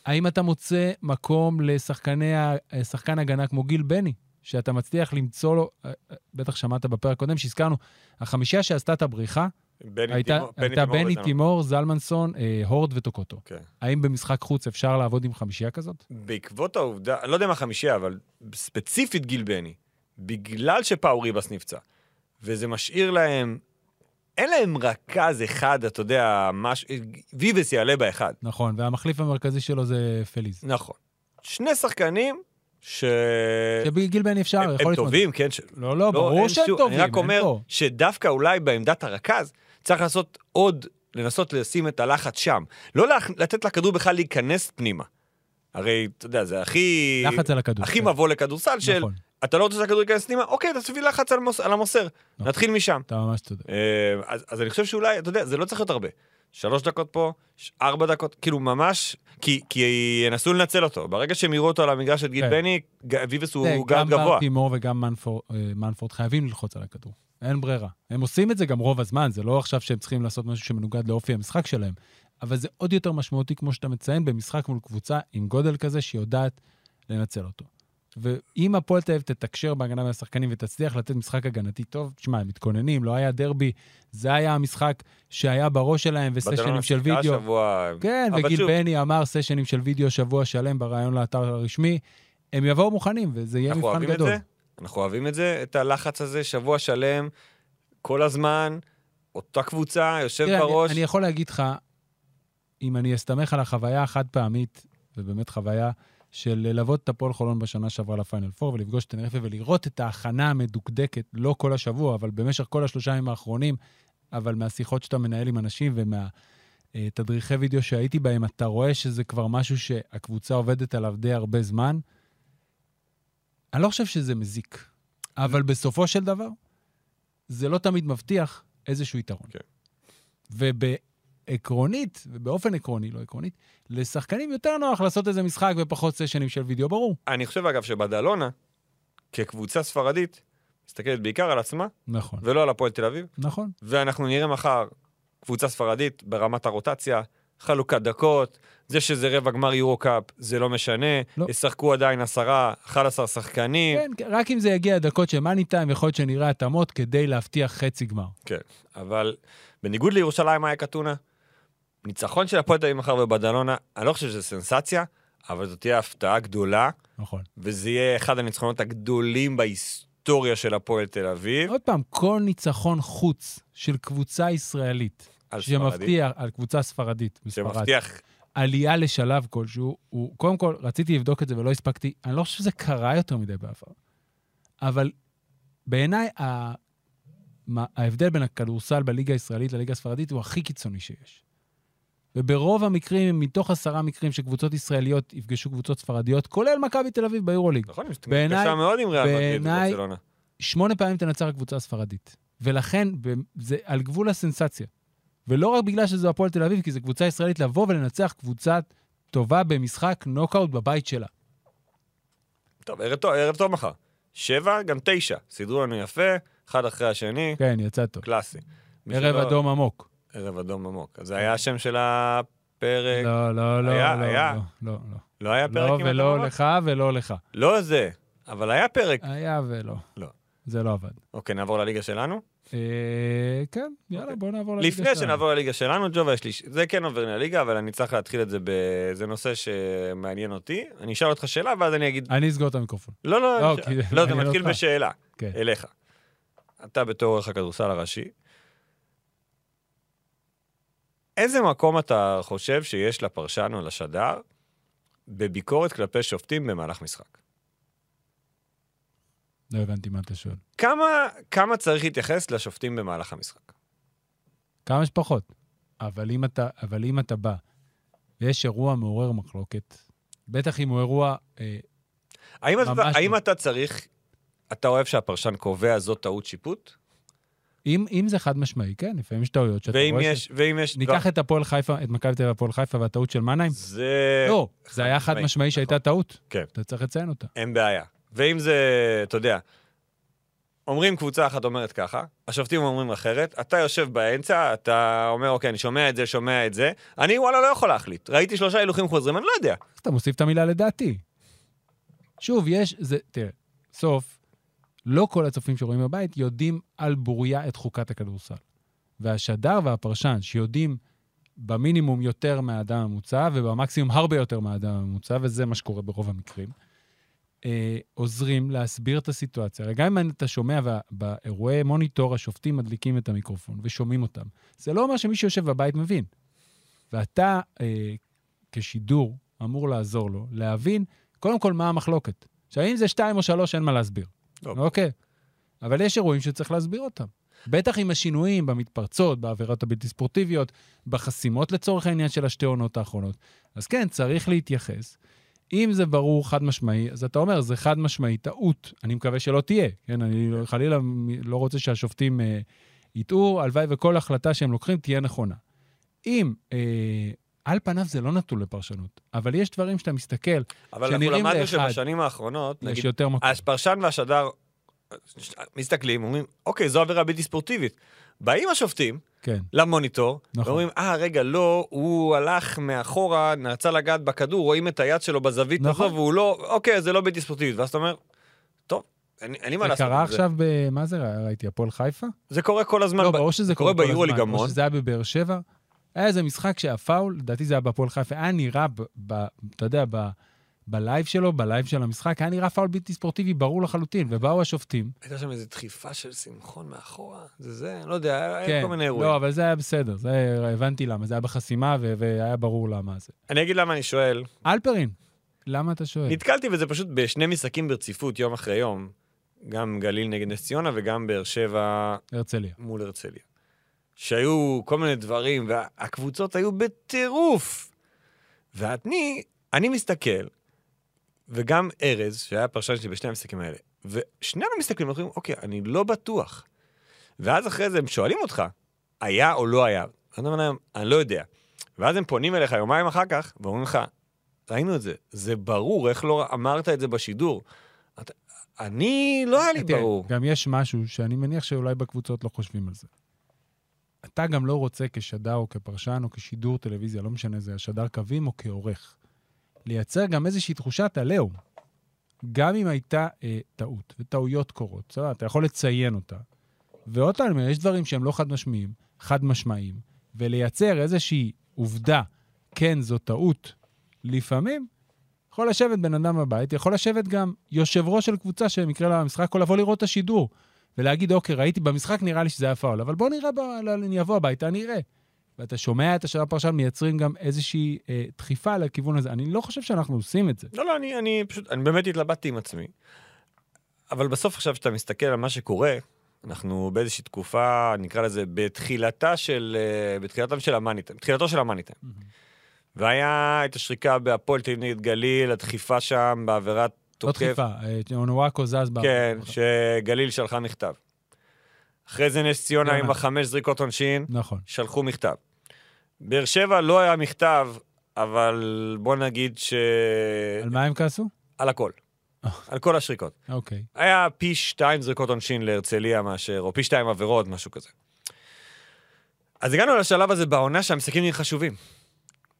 Speaker 2: האם אתה מוצא מקום לשחקני, ה- אה, שחקן הגנה כמו גיל בני, שאתה מצליח למצוא לו, אה, אה, בטח שמעת בפרק הקודם שהזכרנו, החמישייה שעשתה את הבריחה,
Speaker 3: בני
Speaker 2: הייתה
Speaker 3: תימור-
Speaker 2: הייתה בני
Speaker 3: וזלמן.
Speaker 2: תימור, זלמנסון, אה, הורד וטוקוטו.
Speaker 3: כן.
Speaker 2: האם במשחק חוץ אפשר לעבוד עם חמישייה כזאת?
Speaker 3: בעקבות העובדה, אני לא יודע מה חמישייה, אבל ספציפית גיל בני, בגלל שפאו ריבס נפצע, וזה משאיר להם, אין להם רכז אחד, אתה יודע, משהו, ויבס יעלה באחד.
Speaker 2: נכון, והמחליף המרכזי שלו זה פליז.
Speaker 3: נכון. שני ששחקנים ש...
Speaker 2: שבגיל בני אפשר, יכול
Speaker 3: אה, הם,
Speaker 2: להתמודד.
Speaker 3: הם טובים, כן? ש...
Speaker 2: לא, לא, ברור
Speaker 3: אין
Speaker 2: שהם
Speaker 3: שום-
Speaker 2: טובים,
Speaker 3: אני
Speaker 2: אין
Speaker 3: רק אומר
Speaker 2: פה.
Speaker 3: שדווקא אולי בעמדת הרכז צריך לעשות עוד, לנסות לשים את הלחץ שם. לא לה... לתת לכדור בכלל להיכנס פנימה. הרי, אתה יודע, זה הכי...
Speaker 2: לחץ על הכדור.
Speaker 3: הכי
Speaker 2: כן,
Speaker 3: מבוא לכדורסל של...
Speaker 2: נכון,
Speaker 3: אתה לא רוצה שהכדור ייכנס פנימה? אוקיי, תעשי לחץ על, מוס, על המוסר,
Speaker 2: נכון.
Speaker 3: נתחיל משם.
Speaker 2: אתה ממש צודק.
Speaker 3: אה, אז, אז אני חושב שאולי, אתה יודע, זה לא צריך להיות הרבה. שלוש דקות פה, ש- ארבע דקות, כאילו ממש, כי, כי ינסו לנצל אותו. ברגע שהם יראו אותו על המגרש של גיל
Speaker 2: כן.
Speaker 3: בני, ג- ויבס הוא
Speaker 2: כן,
Speaker 3: הוא
Speaker 2: גם
Speaker 3: גארד גבוה.
Speaker 2: ברטימור וגם מנפור- אה, מנפורד חייבים ללחוץ על הכדור. אין ברירה. הם עושים את זה גם רוב הזמן, זה לא עכשיו שהם צריכים לעשות משהו שמנוגד לאופי המשחק שלהם. אבל זה עוד יותר משמעותי, כמו שאתה מציין, במשחק מול קבוצה עם גודל כזה שיודעת לנצל אותו. ואם הפועל תל אביב תתקשר בהגנה מהשחקנים ותצליח לתת משחק הגנתי טוב, תשמע, הם מתכוננים, לא היה דרבי, זה היה המשחק שהיה בראש שלהם וסשנים של
Speaker 3: בטלונה
Speaker 2: וידאו.
Speaker 3: שיחקה השבוע,
Speaker 2: כן,
Speaker 3: אבל
Speaker 2: וגיל
Speaker 3: שוב-
Speaker 2: בני אמר סשנים של וידאו שבוע שלם בריאיון לאתר הרשמי. הם יבואו מוכנים, וזה יהיה
Speaker 3: אנחנו
Speaker 2: מבחן
Speaker 3: אוהבים את
Speaker 2: גדול.
Speaker 3: זה, אנחנו אוהבים את זה, את הלחץ הזה, שבוע שלם, כל הזמן, אותה קבוצה, יושב
Speaker 2: תראה,
Speaker 3: בראש.
Speaker 2: אני, אני יכול להגיד לך, אם אני אסתמך על החוויה החד פעמית, ובאמת חוויה של ללוות את הפועל חולון בשנה שעברה לפיינל 4 ולפגוש את טנרפה ולראות את ההכנה המדוקדקת, לא כל השבוע, אבל במשך כל השלושה ימים האחרונים, אבל מהשיחות שאתה מנהל עם אנשים ומהתדריכי וידאו שהייתי בהם, אתה רואה שזה כבר משהו שהקבוצה עובדת עליו די הרבה זמן. אני לא חושב שזה מזיק, אבל בסופו של דבר, זה לא תמיד מבטיח איזשהו יתרון.
Speaker 3: כן.
Speaker 2: ובעקרונית, ובאופן עקרוני, לא עקרונית, לשחקנים יותר נוח לעשות איזה משחק ופחות סשנים של וידאו, ברור.
Speaker 3: אני חושב, אגב, שבדלונה, כקבוצה ספרדית, מסתכלת בעיקר על עצמה,
Speaker 2: נכון,
Speaker 3: ולא על הפועל תל אביב.
Speaker 2: נכון.
Speaker 3: ואנחנו נראה מחר קבוצה ספרדית ברמת הרוטציה, חלוקת דקות, זה שזה רבע גמר יורו-קאפ, זה לא משנה,
Speaker 2: לא.
Speaker 3: לא. ישחקו עדיין עשרה, 11 שחקנים,
Speaker 2: כן, רק אם זה יגיע לדקות של מאני טיים, יכול להיות שנראה התאמות כדי להבטיח חצי גמר.
Speaker 3: אבל בניגוד לירושלים היה קטונה, ניצחון של הפועל תל אביב מחר ובדלונה, אני לא חושב שזה סנסציה, אבל זאת תהיה הפתעה גדולה,
Speaker 2: נכון.
Speaker 3: וזה יהיה אחד הניצחונות הגדולים בהיסטוריה של הפועל תל אביב.
Speaker 2: עוד פעם, כל ניצחון חוץ של קבוצה ישראלית,
Speaker 3: על ספרדי,
Speaker 2: שמבטיח, על קבוצה ספרדית, בספרד,
Speaker 3: שמבטיח,
Speaker 2: עלייה לשלב כלשהו, הוא, קודם כל, רציתי לבדוק את זה ולא הספקתי, אני לא חושב שזה קרה יותר מדי בעבר. אבל בעיניי, ה- מה- ההבדל בין הכדורסל בליגה הישראלית לליגה הספרדית הוא הכי קיצוני שיש. וברוב המקרים, מתוך עשרה מקרים שקבוצות ישראליות יפגשו קבוצות ספרדיות, כולל מכבי תל אביב ביורוליג,
Speaker 3: נכון, יש
Speaker 2: בעיניי-
Speaker 3: קשה מאוד עם ריאל מדריד
Speaker 2: בעיניי-
Speaker 3: וברצלונה.
Speaker 2: שמונה פעמים תנצח הקבוצה הספרדית. ולכן, ב- זה על גבול הסנסציה. ולא רק בגלל שזו הפועל תל אביב, כי זו קבוצה ישראלית לבוא ולנצח קבוצה טובה במשחק נוקאוט בבית שלה.
Speaker 3: טוב, ערב טוב, ערב טוב מחר. שבע, גם תשע. סידרו לנו יפה, אחד אחרי השני,
Speaker 2: כן, יצא טוב.
Speaker 3: קלאסי. לא, מי
Speaker 2: ערב
Speaker 3: שלא-
Speaker 2: אדום עמוק.
Speaker 3: ערב אדום עמוק. אז זה היה השם של הפרק.
Speaker 2: לא, לא, לא,
Speaker 3: אה, היה-
Speaker 2: לא,
Speaker 3: היה.
Speaker 2: לא, לא, לא.
Speaker 3: לא היה פרק עם
Speaker 2: לא
Speaker 3: אדום
Speaker 2: ולא
Speaker 3: עמוק?
Speaker 2: לך ולא לך.
Speaker 3: לא זה, אבל היה פרק.
Speaker 2: היה ולא.
Speaker 3: לא.
Speaker 2: זה לא עבד.
Speaker 3: אוקיי, נעבור לליגה שלנו.
Speaker 2: אה, כן, יאללה, בוא נעבור לליגה
Speaker 3: אוקיי. לפני שנעבור לליגה שלנו, ג'ובה, יש לי... ש- זה כן עובר לליגה, אבל אני צריך להתחיל את זה ב... זה נושא שמעניין אותי. אני אשאל אותך שאלה, ואז אני אגיד...
Speaker 2: אני אסגור את המיקרופון.
Speaker 3: לא, לא,
Speaker 2: לא,
Speaker 3: אני אשאל-
Speaker 2: כי זה
Speaker 3: לא, זה
Speaker 2: מעניין
Speaker 3: מתחיל
Speaker 2: אותך.
Speaker 3: בשאלה.
Speaker 2: כן.
Speaker 3: אליך. אתה בתור עורך הכדורסל הראשי, איזה מקום אתה חושב שיש לפרשן או לשדר בביקורת כלפי שופטים במהלך משחק?
Speaker 2: לא הבנתי מה אתה שואל.
Speaker 3: כמה, כמה צריך להתייחס לשופטים במהלך המשחק?
Speaker 2: כמה שפחות. אבל אם אתה, אבל אם אתה בא ויש אירוע מעורר מחלוקת, בטח אם הוא אירוע... אה,
Speaker 3: האם, אתה,
Speaker 2: ממש
Speaker 3: האם
Speaker 2: לא.
Speaker 3: אתה צריך, אתה אוהב שהפרשן קובע זאת טעות שיפוט?
Speaker 2: אם, אם זה חד משמעי, כן, לפעמים יש טעויות שאתה
Speaker 3: ואם
Speaker 2: רואה... ש-
Speaker 3: יש, ואם יש...
Speaker 2: ניקח את הפועל חיפה, את מכבי תל אביב הפועל חיפה והטעות של מנהיים.
Speaker 3: זה...
Speaker 2: לא, זה היה חד משמעי שהייתה טעות.
Speaker 3: כן.
Speaker 2: אתה צריך לציין אותה.
Speaker 3: אין בעיה. ואם זה, אתה יודע, אומרים קבוצה אחת אומרת ככה, השופטים אומרים אחרת, אתה יושב באמצע, אתה אומר, אוקיי, אני שומע את זה, שומע את זה, אני וואלה לא יכול להחליט. ראיתי שלושה הילוכים חוזרים, אני לא יודע.
Speaker 2: אז אתה מוסיף את המילה לדעתי. שוב, יש, זה, תראה, סוף, לא כל הצופים שרואים בבית יודעים על בוריה את חוקת הכדורסל. והשדר והפרשן שיודעים במינימום יותר מהאדם הממוצע, ובמקסימום הרבה יותר מהאדם הממוצע, וזה מה שקורה ברוב המקרים, אה, עוזרים להסביר את הסיטואציה. הרי גם אם אתה שומע וה- באירועי מוניטור, השופטים מדליקים את המיקרופון ושומעים אותם, זה לא אומר שמי שיושב בבית מבין. ואתה, אה, כשידור, אמור לעזור לו להבין, קודם כל, מה המחלוקת. עכשיו, אם זה שתיים או שלוש, אין מה להסביר.
Speaker 3: לא.
Speaker 2: אוקיי. אבל יש אירועים שצריך להסביר אותם. בטח עם השינויים במתפרצות, בעבירות הבלתי ספורטיביות, בחסימות לצורך העניין של השתי עונות האחרונות. אז כן, צריך להתייחס. אם זה ברור חד משמעי, אז אתה אומר, זה חד משמעי טעות. אני מקווה שלא תהיה. כן, אני לא- חלילה מ- לא רוצה שהשופטים אה, יטעו, הלוואי וכל החלטה שהם לוקחים תהיה נכונה. אם, אה, על פניו זה לא נתון לפרשנות, אבל יש דברים שאתה מסתכל,
Speaker 3: אבל אנחנו
Speaker 2: שנראים
Speaker 3: למדנו
Speaker 2: לאחד.
Speaker 3: שבשנים האחרונות,
Speaker 2: יש
Speaker 3: נגיד,
Speaker 2: יותר מקום.
Speaker 3: הפרשן והשדר אה, ש- מסתכלים, אומרים, אוקיי, זו עבירה בלתי ספורטיבית. באים השופטים
Speaker 2: כן,
Speaker 3: למוניטור,
Speaker 2: נכון.
Speaker 3: ואומרים, אה, רגע, לא, הוא הלך מאחורה, רצה לגעת בכדור, רואים את היד שלו בזווית
Speaker 2: נכון.
Speaker 3: הזו, והוא לא, אוקיי, זה לא בלתי ספורטיבית. ואז אתה אומר, טוב, אין אין לי מה
Speaker 2: זה
Speaker 3: לעשות.
Speaker 2: קרה
Speaker 3: עם
Speaker 2: עכשיו ב... מה זה היה? ראיתי? הפועל חיפה?
Speaker 3: זה קורה כל הזמן.
Speaker 2: לא,
Speaker 3: ב-
Speaker 2: ברור שזה
Speaker 3: זה קורה
Speaker 2: קורה כל הזמן.
Speaker 3: ביורוליג
Speaker 2: או
Speaker 3: המון.
Speaker 2: שזה היה בבאר שבע. היה איזה משחק שהפאול, לדעתי זה היה בהפועל חיפה, היה נראה, ב- ב- אתה יודע, ב- בלייב שלו, בלייב של המשחק, היה נראה פאול בלתי ספורטיבי ברור לחלוטין, ובאו השופטים.
Speaker 3: הייתה שם איזו דחיפה של שמחון מאחורה, זה זה, לא יודע, היה- היה
Speaker 2: כן,
Speaker 3: כל מיני אירועים.
Speaker 2: לא, אבל זה היה בסדר, זה הבנתי למה, זה היה בחסימה ו- והיה ברור למה זה.
Speaker 3: אני אגיד למה אני שואל.
Speaker 2: אלפרין, למה אתה שואל?
Speaker 3: נתקלתי בזה פשוט בשני משחקים ברציפות, יום אחרי יום. גם גליל נגד נס ציונה וגם באר שבע
Speaker 2: הרצליה.
Speaker 3: מול הרצליה. שהיו כל מיני דברים, והקבוצות היו בטירוף. ואני, אני מסתכל, וגם ארז, שהיה הפרשן שלי בשני המשחקים האלה, ושנינו מסתכלים ואומרים, אוקיי, אני לא בטוח. ואז אחרי זה הם שואלים אותך, היה או לא היה? אז אתה אומר להם, אני לא יודע. ואז הם פונים אליך יומיים אחר כך, ואומרים לך, ראינו את זה, זה ברור, איך לא אמרת את זה בשידור? אתה, אני, לא היה לי
Speaker 2: אה, תראה,
Speaker 3: ברור.
Speaker 2: גם יש משהו שאני מניח שאולי בקבוצות לא חושבים על זה. אתה גם לא רוצה כשדר או כפרשן או כשידור טלוויזיה, לא משנה, זה השדר קווים או כעורך, לייצר גם איזושהי תחושת עליהום. גם אם הייתה אה, טעות, וטעויות קורות, בסדר? אתה יכול לציין אותה. ועוד פעם, אני אומר, יש דברים שהם לא חד משמעיים, חד משמעיים, ולייצר איזושהי עובדה, כן, זו טעות, לפעמים יכול לשבת בן אדם בבית, יכול לשבת גם יושב ראש של קבוצה שבמקרה לה המשחק, או לבוא לראות את השידור, ולהגיד, אוקיי, ראיתי במשחק, נראה לי שזה היה פאול, אבל בוא נראה, ב... לא, אני אבוא הביתה, אני אראה. ואתה שומע את השאלה הפרשן, מייצרים גם איזושהי אה, דחיפה לכיוון הזה. אני לא חושב שאנחנו עושים את זה.
Speaker 3: לא, לא, אני, אני פשוט, אני באמת התלבטתי עם עצמי. אבל בסוף עכשיו, כשאתה מסתכל על מה שקורה, אנחנו באיזושהי תקופה, נקרא לזה, בתחילתה של, אה, בתחילתם של המאניטיים, בתחילתו של המאניטיים. והיה את השריקה בהפועל תל אביב נגד גליל, הדחיפה שם בעבירת
Speaker 2: לא
Speaker 3: תוקף.
Speaker 2: דחיפה, נכון. אה, אונוואקו זז בה.
Speaker 3: כן, שגליל שלחה מכתב. אחרי זה נס ציונה
Speaker 2: ציונה.
Speaker 3: עם החמש זריקות עונשין,
Speaker 2: נכון.
Speaker 3: שלחו מכתב. באר שבע לא היה מכתב, אבל בוא נגיד ש...
Speaker 2: על מה הם כעסו?
Speaker 3: על הכל.
Speaker 2: אה.
Speaker 3: על כל השריקות.
Speaker 2: אוקיי.
Speaker 3: היה פי שתיים זריקות עונשין להרצליה מאשר, או פי שתיים עבירות, משהו כזה. אז הגענו לשלב הזה בעונה שהמשחקים נהיים חשובים.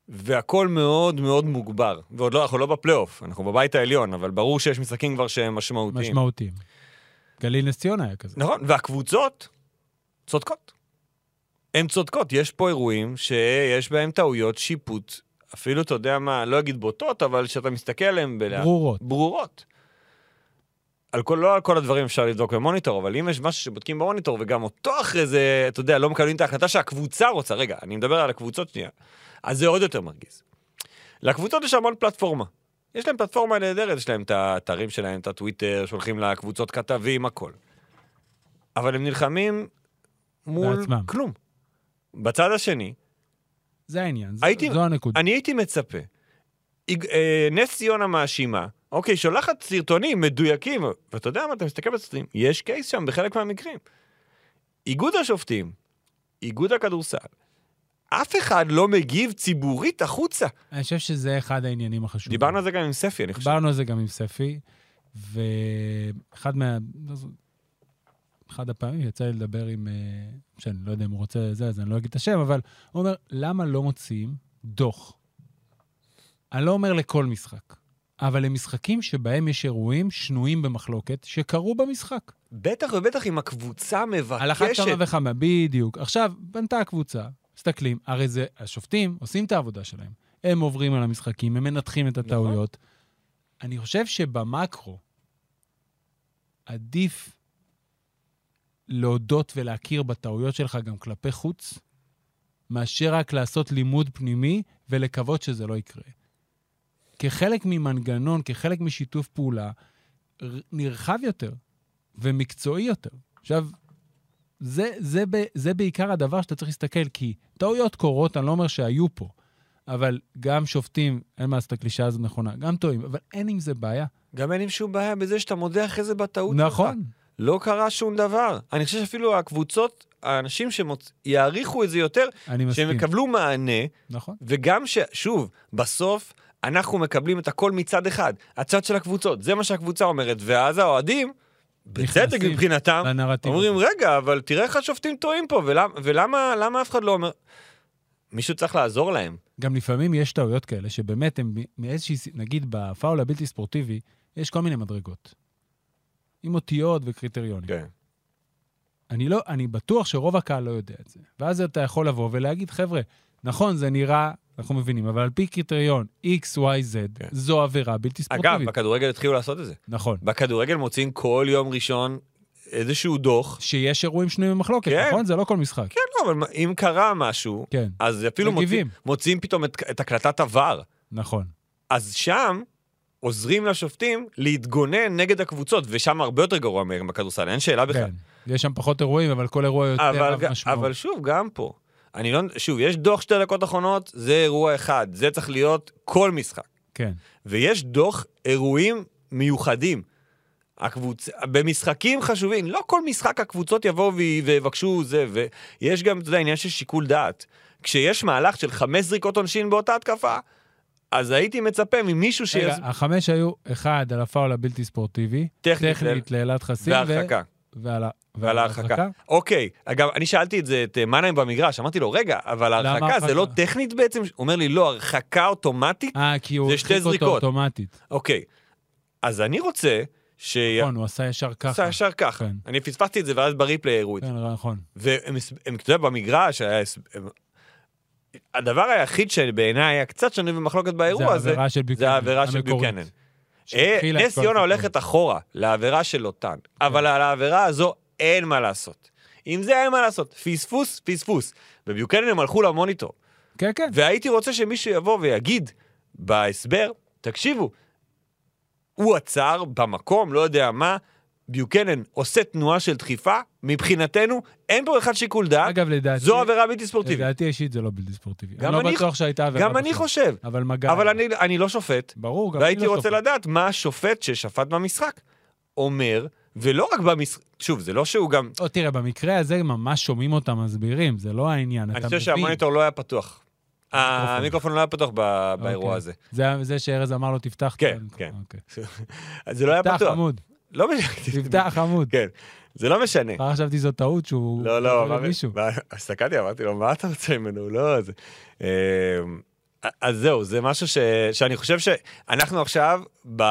Speaker 3: והכל מאוד מאוד מוגבר. ועוד לא, אנחנו לא בפלייאוף, אנחנו בבית העליון, אבל ברור שיש משחקים כבר שהם משמעותיים.
Speaker 2: משמעותיים. גליל נס ציונה היה כזה.
Speaker 3: נכון, והקבוצות צודקות. הן צודקות, יש פה אירועים שיש בהם טעויות שיפוט, אפילו, אתה יודע מה, לא אגיד בוטות, אבל שאתה מסתכל עליהן בלה...
Speaker 2: ברורות.
Speaker 3: ברורות. על כל, לא על כל הדברים אפשר לבדוק במוניטור, אבל אם יש משהו שבודקים במוניטור וגם אותו אחרי זה, אתה יודע, לא מקבלים את ההחלטה שהקבוצה רוצה, רגע, אני מדבר על הקבוצות שנייה, אז זה עוד יותר מרגיז. לקבוצות יש המון פלטפורמה. יש להם פלטפורמה נהדרת, יש להם את האתרים שלהם, את הטוויטר, שולחים לקבוצות כתבים, הכל. אבל הם נלחמים מול
Speaker 2: בעצמם.
Speaker 3: כלום. בצד השני,
Speaker 2: זה העניין, ז-
Speaker 3: הייתי-
Speaker 2: זו הנקודה.
Speaker 3: אני הייתי מצפה. איג- אה, נס ציונה מאשימה, אוקיי, שולחת סרטונים מדויקים, ואתה יודע מה, אתה מסתכל בסרטונים, יש קייס שם בחלק מהמקרים. איגוד השופטים, איגוד הכדורסל, אף אחד לא מגיב ציבורית החוצה.
Speaker 2: אני חושב שזה אחד העניינים החשובים.
Speaker 3: דיברנו על זה גם עם ספי, אני חושב.
Speaker 2: דיברנו על זה גם עם ספי, ואחד מה... לא זו- אחד הפעמים יצא לי לדבר עם... אה, שאני לא יודע אם הוא רוצה זה, אז אני לא אגיד את השם, אבל הוא אומר, למה לא מוציאים דוח? אני לא אומר לכל משחק, אבל למשחקים שבהם יש אירועים שנויים במחלוקת שקרו במשחק.
Speaker 3: בטח ובטח אם הקבוצה
Speaker 2: על אחת
Speaker 3: מבקשת.
Speaker 2: כמה וכמה, בדיוק. עכשיו, בנתה הקבוצה, מסתכלים, הרי זה, השופטים עושים את העבודה שלהם. הם עוברים על המשחקים, הם מנתחים את הטעויות. אני חושב שבמקרו עדיף להודות ולהכיר בטעויות שלך גם כלפי חוץ, מאשר רק לעשות לימוד פנימי ולקוות שזה לא יקרה. כחלק ממנגנון, כחלק משיתוף פעולה, ר- נרחב יותר ומקצועי יותר. עכשיו, זה, זה, ב- זה בעיקר הדבר שאתה צריך להסתכל, כי טעויות קורות, אני לא אומר שהיו פה, אבל גם שופטים, אין מה לעשות, הקלישאה הזאת נכונה, גם טועים, אבל אין עם זה בעיה.
Speaker 3: גם אין עם שום בעיה בזה שאתה מודה אחרי זה בטעות שלך.
Speaker 2: נכון.
Speaker 3: לא קרה שום דבר. אני חושב שאפילו הקבוצות, האנשים שיעריכו את זה יותר,
Speaker 2: אני מסכים.
Speaker 3: שהם יקבלו מענה,
Speaker 2: נכון.
Speaker 3: וגם ש... שוב, בסוף אנחנו מקבלים את הכל מצד אחד, הצד של הקבוצות, זה מה שהקבוצה אומרת, ואז האוהדים, בצדק
Speaker 2: נכנסים
Speaker 3: מבחינתם,
Speaker 2: בנרטיב.
Speaker 3: אומרים, רגע, אבל תראה איך השופטים טועים פה, ולמה, ולמה למה אף אחד לא אומר... מישהו צריך לעזור להם.
Speaker 2: גם לפעמים יש טעויות כאלה, שבאמת הם מ- מאיזושהי, ס- נגיד בפאול הבלתי ספורטיבי, יש כל מיני מדרגות. עם אותיות וקריטריונים.
Speaker 3: כן.
Speaker 2: אני, לא, אני בטוח שרוב הקהל לא יודע את זה. ואז אתה יכול לבוא ולהגיד, חבר'ה, נכון, זה נראה, אנחנו מבינים, אבל על פי קריטריון x, y, z,
Speaker 3: כן.
Speaker 2: זו עבירה בלתי
Speaker 3: אגב,
Speaker 2: ספורטיבית.
Speaker 3: בכדורגל התחילו לעשות את זה.
Speaker 2: נכון.
Speaker 3: בכדורגל מוציאים כל יום ראשון איזשהו דוח.
Speaker 2: שיש אירועים שנויים במחלוקת,
Speaker 3: כן.
Speaker 2: נכון? זה לא כל משחק.
Speaker 3: כן, לא, אבל אם קרה משהו,
Speaker 2: כן,
Speaker 3: אז אפילו
Speaker 2: מגיבים.
Speaker 3: מוציאים, מוציאים פתאום את, את הקלטת עבר.
Speaker 2: נכון.
Speaker 3: אז שם עוזרים לשופטים להתגונן נגד הקבוצות, ושם הרבה יותר גרוע מהם בכדורסל, אין שאלה בכלל.
Speaker 2: כן. יש שם פחות אירועים, אבל כל אירוע יותר
Speaker 3: אבל,
Speaker 2: רב
Speaker 3: ג-
Speaker 2: משמעות.
Speaker 3: אבל שוב, גם פה. אני לא... שוב, יש דוח שתי דקות אחרונות, זה אירוע אחד, זה צריך להיות כל משחק.
Speaker 2: כן,
Speaker 3: ויש דוח אירועים מיוחדים. הקבוצ... במשחקים חשובים, לא כל משחק הקבוצות יבואו ו... ויבקשו זה, ויש גם, אתה יודע, עניין של שיקול דעת. כשיש מהלך של חמש זריקות עונשין באותה התקפה, אז הייתי מצפה ממישהו
Speaker 2: רגע,
Speaker 3: שיז...
Speaker 2: החמש היו, אחד, על הפאול הבלתי ספורטיבי,
Speaker 3: טכנית,
Speaker 2: טכנית לאלעד חסין, ו-
Speaker 3: והרחקה.
Speaker 2: ועל ה- ועל
Speaker 3: ועל ההרחקה. אוקיי, אגב, אני שאלתי את זה, את אה, מנהיים במגרש, אמרתי לו, רגע, אבל ההרחקה זה
Speaker 2: הרחקה?
Speaker 3: לא טכנית בעצם? הוא אומר לי, לא, הרחקה אוטומטית?
Speaker 2: אה, כי הוא
Speaker 3: זה שתי
Speaker 2: הרחיק אותו
Speaker 3: זריקות.
Speaker 2: אוטומטית.
Speaker 3: אוקיי. אז אני רוצה ש...
Speaker 2: נכון, הוא עשה ישר ככה.
Speaker 3: עשה ישר ככה.
Speaker 2: כן.
Speaker 3: אני פספסתי את זה, ואז בריפלי הראו את זה.
Speaker 2: כן, נכון.
Speaker 3: והם, הס- הם, אתה יודע, במגרש היה... הס- הם- הדבר היחיד שבעיניי היה קצת שנוי במחלוקת באירוע הזה,
Speaker 2: העבירה של ביוקנן,
Speaker 3: זה העבירה של
Speaker 2: המקורית.
Speaker 3: ביוקנן. אה,
Speaker 2: שהתחילה את כן.
Speaker 3: נס
Speaker 2: כל
Speaker 3: ציונה
Speaker 2: הסיפור.
Speaker 3: הולכת אחורה לעבירה של לוטן, אבל על העבירה הזו אין מה לעשות. עם זה אין מה לעשות, פספוס, פספוס. בביוקנן הם הלכו למוניטור,
Speaker 2: כן, כן.
Speaker 3: והייתי רוצה שמישהו יבוא ויגיד בהסבר, תקשיבו, הוא עצר במקום, לא יודע מה, ביוקנן עושה תנועה של דחיפה, מבחינתנו אין פה אחד שיקול דעת,
Speaker 2: אגב, לדעתי...
Speaker 3: זו עבירה בלתי ספורטיבית.
Speaker 2: לדעתי אישית זה לא בלתי ספורטיבי.
Speaker 3: גם
Speaker 2: אני לא
Speaker 3: אני
Speaker 2: בטוח שהייתה עבירה
Speaker 3: גם אני
Speaker 2: בכלל.
Speaker 3: חושב,
Speaker 2: אבל מגע...
Speaker 3: אבל אני- אני לא שופט,
Speaker 2: ברור, גם אני לא
Speaker 3: והייתי רוצה
Speaker 2: שופט.
Speaker 3: לדעת מה השופט ששפט במשחק אומר, ולא רק במשחק, שוב, זה לא שהוא גם,
Speaker 2: או, תראה, במקרה הזה ממש שומעים אותם מסבירים, זה לא העניין, אתה
Speaker 3: אני
Speaker 2: מבין.
Speaker 3: חושב שהמוניטור לא היה פתוח. המיקרופון לא היה פתוח ב- באירוע
Speaker 2: אוקיי.
Speaker 3: הזה.
Speaker 2: זה- זה שארז אמר לו, תפתח... את
Speaker 3: כן,
Speaker 2: ה-
Speaker 3: כן.
Speaker 2: אוקיי.
Speaker 3: אז זה לא היה
Speaker 2: תפתח
Speaker 3: פתוח.
Speaker 2: עמוד,
Speaker 3: לא משנה.
Speaker 2: תפתח עמוד.
Speaker 3: כן, זה לא משנה.
Speaker 2: כבר חשבתי זו טעות שהוא...
Speaker 3: לא, לא,
Speaker 2: קרא
Speaker 3: אמרתי-
Speaker 2: למישהו.
Speaker 3: מה- הסתכלתי, אמרתי לו, מה אתה רוצה ממנו? לא, זה... אמ, אז זהו, זה משהו ש... שאני חושב שאנחנו עכשיו ב...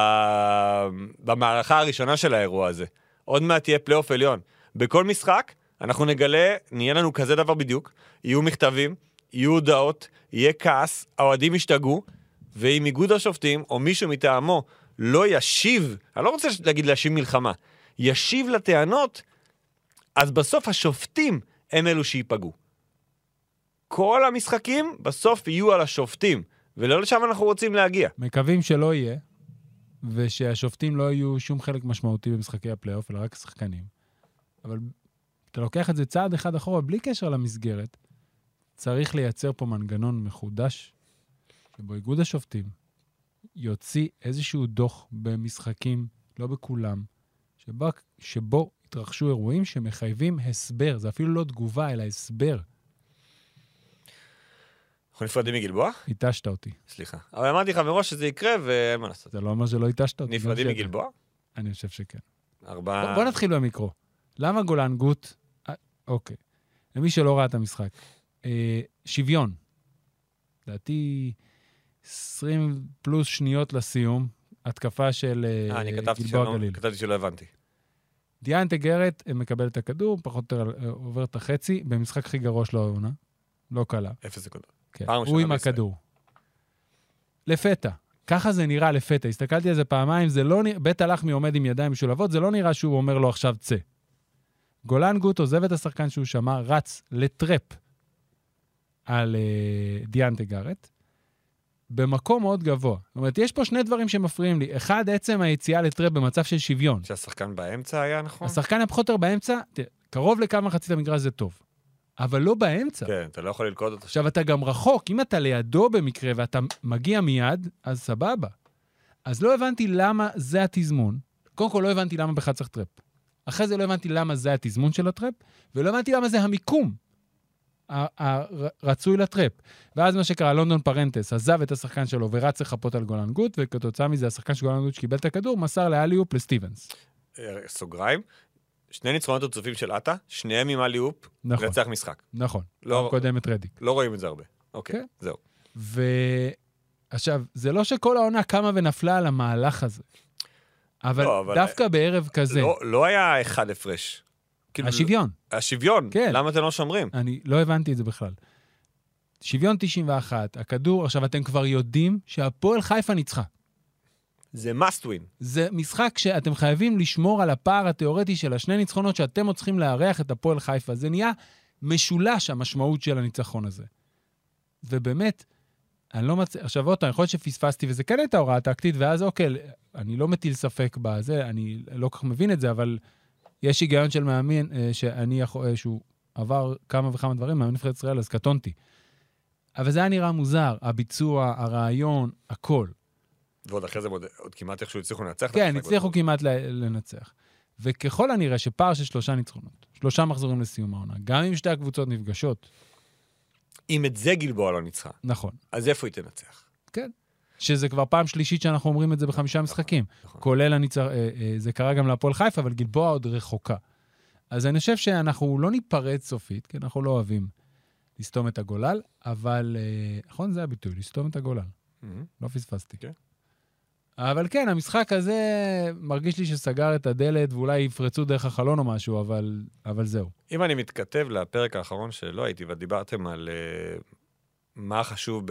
Speaker 3: במערכה הראשונה של האירוע הזה. עוד מעט תהיה פלייאוף עליון. בכל משחק אנחנו נגלה, נהיה לנו כזה דבר בדיוק, יהיו מכתבים, יהיו הודעות, יהיה כעס, האוהדים ישתגעו, ואם איגוד השופטים או מישהו מטעמו לא ישיב, אני לא רוצה להגיד להשיב מלחמה, ישיב לטענות, אז בסוף השופטים הם אלו שייפגעו. כל המשחקים בסוף יהיו על השופטים, ולא לשם אנחנו רוצים להגיע.
Speaker 2: מקווים שלא יהיה, ושהשופטים לא יהיו שום חלק משמעותי במשחקי הפלייאוף, אלא רק שחקנים. אבל אתה לוקח את זה צעד אחד אחורה, בלי קשר למסגרת, צריך לייצר פה מנגנון מחודש, שבו איגוד השופטים יוציא איזשהו דוח במשחקים, לא בכולם, שבו, שבו התרחשו אירועים שמחייבים הסבר. זה אפילו לא תגובה, אלא הסבר.
Speaker 3: אנחנו נפרדים מגלבוע?
Speaker 2: התשת אותי.
Speaker 3: סליחה. אבל אמרתי לך מראש שזה יקרה, ואין מה לעשות.
Speaker 2: זה לא אומר שלא התשת אותי.
Speaker 3: נפרדים
Speaker 2: לא משנה.
Speaker 3: מגלבוע?
Speaker 2: אני חושב שכן.
Speaker 3: ארבעה...
Speaker 2: בוא- בוא נתחיל במיקרו. למה גולן גוט... אה, אוקיי. למי שלא ראה את המשחק. אה, שוויון. לדעתי, 20 פלוס שניות לסיום, התקפה של אה,
Speaker 3: אה, אני כתבתי
Speaker 2: גלבוע
Speaker 3: שלא-
Speaker 2: גליל.
Speaker 3: כתבתי שלא הבנתי.
Speaker 2: דיאן טגרת אה, מקבל את הכדור, פחות או יותר אה, עובר את החצי, במשחק הכי גרוע שלו העונה. לא קלה.
Speaker 3: אפס נקודות.
Speaker 2: כן,
Speaker 3: פעם
Speaker 2: הוא
Speaker 3: ראשונה
Speaker 2: עם
Speaker 3: בישראל.
Speaker 2: הכדור. לפתע. ככה זה נראה לפתע. הסתכלתי על זה פעמיים, זה לא נראה... בית הלחמי עומד עם ידיים משולבות, זה לא נראה שהוא אומר לו עכשיו צא. גולן גוט עוזב את השחקן שהוא שמע, רץ לטרפ על uh, דיאנטה גארט, במקום מאוד גבוה. זאת אומרת, יש פה שני דברים שמפריעים לי. אחד, עצם היציאה לטרפ במצב של שוויון.
Speaker 3: נכון. שהשחקן באמצע היה, נכון?
Speaker 2: השחקן הפחות או יותר באמצע, תראה, קרוב לקו מחצית המגרש זה טוב, אבל לא באמצע.
Speaker 3: כן, אתה לא יכול ללכוד אותו.
Speaker 2: עכשיו, אתה גם רחוק, אם אתה לידו במקרה ואתה מגיע מיד, אז סבבה. אז לא הבנתי למה זה התזמון. קודם כל, לא הבנתי למה בכלל צריך טראפ. אחרי זה לא הבנתי למה זה התזמון של הטראפ, ולא הבנתי למה זה המיקום ה- ה- הרצוי לטראפ. ואז מה שקרה, לונדון פרנטס עזב את השחקן שלו ורץ לחפות על גולן גוט, וכתוצאה מזה השחקן של גולן גוט שקיבל את הכדור, מסר לאליופ לסטיבנס.
Speaker 3: אה, סוגריים. שני ניצחונות רצופים של עטה, שניהם עם אלי אופ,
Speaker 2: נכון,
Speaker 3: לנצח משחק.
Speaker 2: נכון.
Speaker 3: לא-
Speaker 2: קודם את רדיק.
Speaker 3: לא רואים את זה הרבה. אוקיי,
Speaker 2: כן.
Speaker 3: זהו.
Speaker 2: ועכשיו, זה לא שכל העונה קמה ונפלה על המהלך הזה, אבל,
Speaker 3: לא, אבל-
Speaker 2: דווקא בערב כזה,
Speaker 3: לא- לא היה אחד הפרש. כאילו,
Speaker 2: השוויון,
Speaker 3: השוויון,
Speaker 2: כן.
Speaker 3: למה אתם לא שומרים?
Speaker 2: אני לא הבנתי את זה בכלל. שוויון 91, הכדור, עכשיו אתם כבר יודעים שהפועל חיפה ניצחה.
Speaker 3: זה must win.
Speaker 2: זה משחק שאתם חייבים לשמור על הפער התיאורטי של השני ניצחונות שאתם עוד צריכים לארח את הפועל חיפה. זה נהיה משולש המשמעות של הניצחון הזה. ובאמת, אני לא מצליח, עכשיו עוד פעם, יכול להיות שפספסתי, וזה כן הייתה הוראה טקטית, ואז אוקיי, אני לא מטיל ספק בזה, אני לא כל כך מבין את זה, אבל יש היגיון של מאמן אה, שאני יכול, אה, שהוא עבר כמה וכמה דברים, מאמן נבחרת ישראל, אז קטונתי. אבל זה היה נראה מוזר, הביצוע, הרעיון, הכל.
Speaker 3: ועוד אחרי זה עוד, עוד כמעט איכשהו הצליחו לנצח. את
Speaker 2: כן,
Speaker 3: המשחק
Speaker 2: הצליחו
Speaker 3: הזה.
Speaker 2: כמעט ל- לנצח. וככל הנראה שפער של שלושה ניצחונות, שלושה מחזורים לסיום העונה, גם אם שתי הקבוצות נפגשות,
Speaker 3: אם את זה גלבוע לא ניצחה,
Speaker 2: נכון,
Speaker 3: אז איפה היא תנצח?
Speaker 2: שזה כבר פעם שלישית שאנחנו אומרים את זה בחמישה משחקים,
Speaker 3: נכון.
Speaker 2: כולל הניצ... אה, אה, זה קרה גם להפועל חיפה, אבל גלבוע עוד רחוקה. אז אני חושב שאנחנו לא ניפרד סופית, כי אנחנו לא אוהבים לסתום את הגולל, אבל, אה, נכון, זה הביטוי, לסתום את הגולל.
Speaker 3: מהמם.
Speaker 2: לא פספסתי.
Speaker 3: כן.
Speaker 2: אבל כן, המשחק הזה מרגיש לי שסגר את הדלת, ואולי יפרצו דרך החלון או משהו, אבל, אבל זהו.
Speaker 3: אם אני מתכתב לפרק האחרון שלא הייתי, ודיברתם על אה, מה חשוב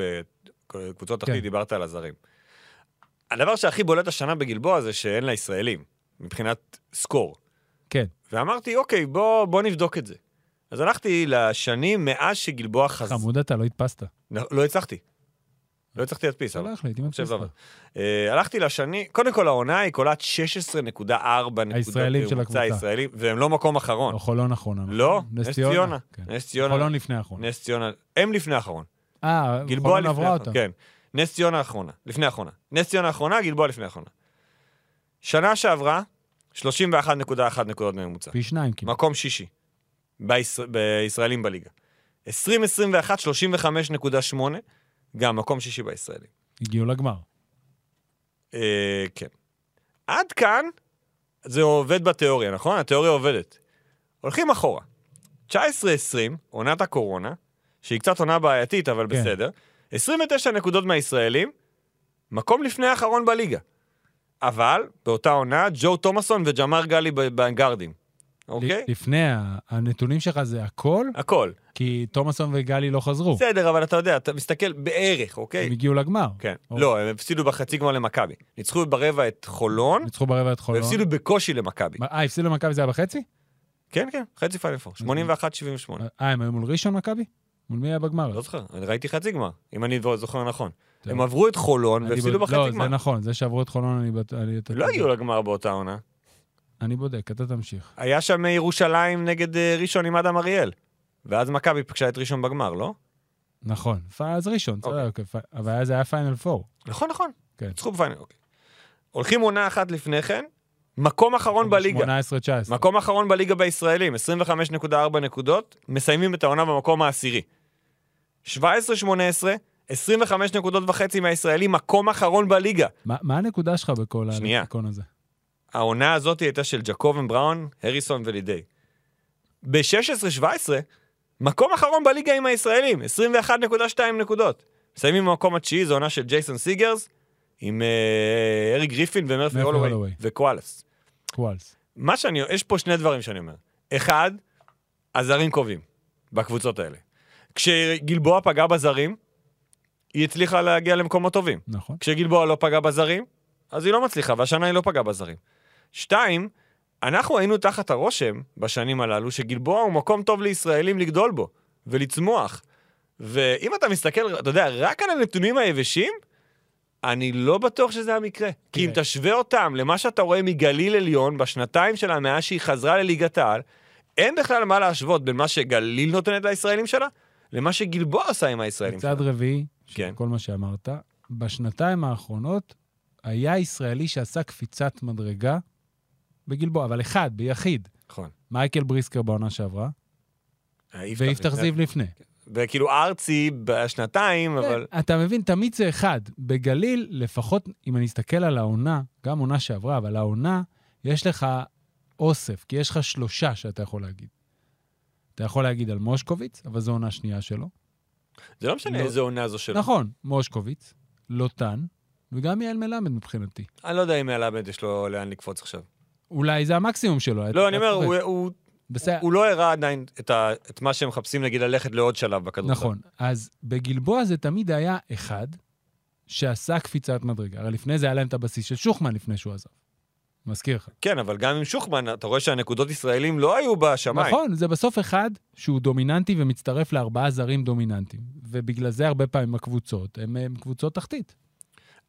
Speaker 3: בקבוצות
Speaker 2: כן.
Speaker 3: תחתית, דיברת על הזרים. הדבר שהכי בולט השנה בגלבוע זה שאין לה ישראלים, מבחינת סקור.
Speaker 2: כן.
Speaker 3: ואמרתי, אוקיי, בוא, בוא נבדוק את זה. אז הלכתי לשנים מאז שגלבוע חזרה.
Speaker 2: חמוד אתה, לא הדפסת.
Speaker 3: לא הצלחתי. לא הצלחתי להדפיס, אבל...
Speaker 2: שלח לי, הייתי מדפיס
Speaker 3: עכשיו
Speaker 2: לך.
Speaker 3: עבד. אה, הלכתי לשני, קודם כל העונה היא קולעת 16.4 נקודות.
Speaker 2: הישראלים של
Speaker 3: בממוצע
Speaker 2: הקבוצה.
Speaker 3: הישראלי, והם לא מקום אחרון.
Speaker 2: או חולון אחרונה.
Speaker 3: לא,
Speaker 2: נס
Speaker 3: נס
Speaker 2: ציונה.
Speaker 3: ציונה.
Speaker 2: כן.
Speaker 3: נס ציונה.
Speaker 2: חולון לפני האחרון.
Speaker 3: נס ציונה. הם לפני האחרון.
Speaker 2: אה,
Speaker 3: גלבוע
Speaker 2: חולון
Speaker 3: לפני
Speaker 2: עברה אותה.
Speaker 3: האחרונה. כן. נס ציונה האחרונה. לפני האחרונה. נס ציונה האחרונה, גלבוע לפני האחרונה. שנה שעברה, 31.1 נקודות בממוצע.
Speaker 2: פי שניים כמעט.
Speaker 3: מקום שישי. בישראל- בישראלים בליגה. 2021, 35.8, גם מקום שישי בישראלים.
Speaker 2: הגיעו לגמר.
Speaker 3: אה, כן. עד כאן זה עובד בתיאוריה, נכון? התיאוריה עובדת. הולכים אחורה. 19-20, עונת הקורונה, שהיא קצת עונה בעייתית, אבל
Speaker 2: כן.
Speaker 3: בסדר. 29 נקודות מהישראלים, מקום לפני האחרון בליגה. אבל, באותה עונה, ג'ו תומאסון וג'מר גלי ב- בגארדים. אוקיי?
Speaker 2: ל- לפני, ה- הנתונים שלך זה הכל,
Speaker 3: הכל.
Speaker 2: כי תומאסון וגלי לא חזרו.
Speaker 3: בסדר, אבל אתה יודע, אתה מסתכל בערך,
Speaker 2: הם
Speaker 3: אוקיי?
Speaker 2: הגיעו לגמר.
Speaker 3: כן.
Speaker 2: או.
Speaker 3: לא, הם הפסידו בחצי גמר למכבי. ניצחו ברבע את חולון,
Speaker 2: ניצחו ברבע את חולון.
Speaker 3: והפסידו בקושי למכבי.
Speaker 2: מה, אה, הפסידו למכבי זה היה בחצי?
Speaker 3: כן, כן, חצי פיינל פור, 81-78.
Speaker 2: אה, הם היו מול ראשון מכבי? מול מי היה בגמר?
Speaker 3: לא זוכר, אני ראיתי חצי גמר, אם אני זוכר נכון.
Speaker 2: אוקיי. טוב.
Speaker 3: הם עברו את חולון
Speaker 2: אני
Speaker 3: והפסידו
Speaker 2: בוד-
Speaker 3: בחצי
Speaker 2: לא,
Speaker 3: גמר.
Speaker 2: זה נכון, זה שעברו את חולון, אני... בט- אני- אתה
Speaker 3: לא
Speaker 2: צודק.
Speaker 3: הגיעו לגמר באותה עונה.
Speaker 2: אני בודק, אתה תמשיך.
Speaker 3: היה שם אה, ירושלים נגד אה, ראשון עם אדם אריאל. ואז מכבי פגשה את ראשון בגמר, לא?
Speaker 2: נכון. פ- אז ראשון,
Speaker 3: אוקיי.
Speaker 2: צודק, פ- אבל אז זה היה פיינל פור.
Speaker 3: נכון, נכון.
Speaker 2: כן.
Speaker 3: ניצחו בפיינל, אוקיי. הולכים עונה אחת לפני כן, מקום אחרון נכון, בליגה.
Speaker 2: 18-19.
Speaker 3: מקום אחרון בליגה בישראלים, 25.4 נקודות, מסיימים את העונה במקום העשירי. 17-18, 25 נקודות וחצי מהישראלים, מקום אחרון בליגה.
Speaker 2: מה מה הנקודה שלך בכל
Speaker 3: שנייה.
Speaker 2: הלקסיקון הזה?
Speaker 3: העונה הזאת הייתה של ג'קובן בראון, הריסון ולידי. ב-16-17, מקום אחרון בליגה עם הישראלים, 21.2 נקודות. מסיימים במקום התשיעי, זו עונה של ג'ייסון סיגרס, עם אה, אריק גריפין ומרפי
Speaker 2: מרפי
Speaker 3: הולווי
Speaker 2: הולווי.
Speaker 3: וקואלס.
Speaker 2: קוואלס.
Speaker 3: מה שאני, יש פה שני דברים שאני אומר. אחד, הזרים קובעים בקבוצות האלה. כשגלבוע פגע בזרים, היא הצליחה להגיע למקומות טובים.
Speaker 2: נכון.
Speaker 3: כשגלבוע לא פגע בזרים, אז היא לא מצליחה, והשנה היא לא פגעה בזרים. שתיים, אנחנו היינו תחת הרושם בשנים הללו שגלבוע הוא מקום טוב לישראלים לגדול בו ולצמוח. ואם אתה מסתכל, אתה יודע, רק על הנתונים היבשים, אני לא בטוח שזה המקרה. כי אם
Speaker 2: תראה.
Speaker 3: תשווה אותם למה שאתה רואה מגליל עליון בשנתיים שלה מאז שהיא חזרה לליגת העל, אין בכלל מה להשוות בין מה שגליל נותנת לישראלים שלה למה שגלבוע עושה עם הישראלים שלה.
Speaker 2: מצד רביעי, של
Speaker 3: כן.
Speaker 2: כל מה שאמרת, בשנתיים האחרונות היה ישראלי שעשה קפיצת מדרגה בגלבוע, אבל אחד, ביחיד.
Speaker 3: נכון.
Speaker 2: מייקל בריסקר בעונה שעברה,
Speaker 3: אה,
Speaker 2: ויפתח זיו לפני.
Speaker 3: וכאילו ארצי בשנתיים, אבל...
Speaker 2: כן, אתה מבין, תמיד זה אחד. בגליל, לפחות אם אני אסתכל על העונה, גם עונה שעברה, אבל העונה, יש לך אוסף, כי יש לך שלושה שאתה יכול להגיד. אתה יכול להגיד על מושקוביץ, אבל זו עונה שנייה שלו.
Speaker 3: זה לא משנה
Speaker 2: לא.
Speaker 3: איזה עונה זו שלו.
Speaker 2: נכון, מושקוביץ, לוטן, וגם יעל מלמד מבחינתי.
Speaker 3: אני לא יודע אם אלעבד יש לו לאן לקפוץ עכשיו.
Speaker 2: אולי זה המקסימום שלו.
Speaker 3: לא, אני אומר,
Speaker 2: אתה
Speaker 3: הוא-
Speaker 2: צודק.
Speaker 3: הוא-
Speaker 2: בסדר,
Speaker 3: הוא לא הראה עדיין את ה- את מה שהם מחפשים, נגיד, ללכת לעוד שלב בכדורסל.
Speaker 2: נכון. אז בגלבוע זה תמיד היה אחד שעשה קפיצת מדרגה. הרי לפני זה היה להם את הבסיס של שוחמן לפני שהוא עזב. מזכיר לך.
Speaker 3: כן, אבל גם עם שוחמן, אתה רואה שהנקודות ישראלים לא היו בשמיים.
Speaker 2: נכון, זה בסוף אחד שהוא דומיננטי ומצטרף לארבעה זרים דומיננטיים. ובגלל זה הרבה פעמים הקבוצות הן הן קבוצות תחתית.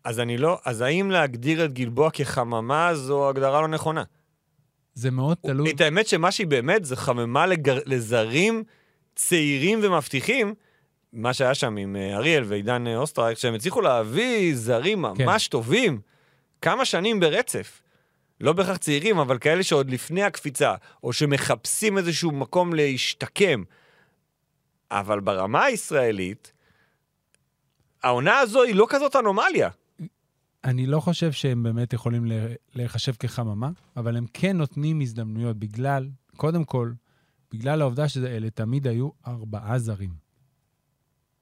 Speaker 3: אז אני לא... אז האם להגדיר את גלבוע כחממה זו הגדרה לא נכונה?
Speaker 2: זה מאוד תלוי.
Speaker 3: את האמת שמה שהיא באמת זה חממה לגר... לזרים צעירים ומבטיחים, מה שהיה שם עם אה, אריאל ועידן אה, אוסטרייק, שהם הצליחו להביא זרים
Speaker 2: כן.
Speaker 3: ממש טובים, כמה שנים ברצף. לא בהכרח צעירים, אבל כאלה שעוד לפני הקפיצה, או שמחפשים איזשהו מקום להשתקם. אבל ברמה הישראלית, העונה הזו היא לא כזאת אנומליה.
Speaker 2: אני לא חושב שהם באמת יכולים ל- להיחשב כחממה, אבל הם כן נותנים הזדמנויות בגלל, קודם כל, בגלל העובדה שאלה תמיד היו ארבעה זרים.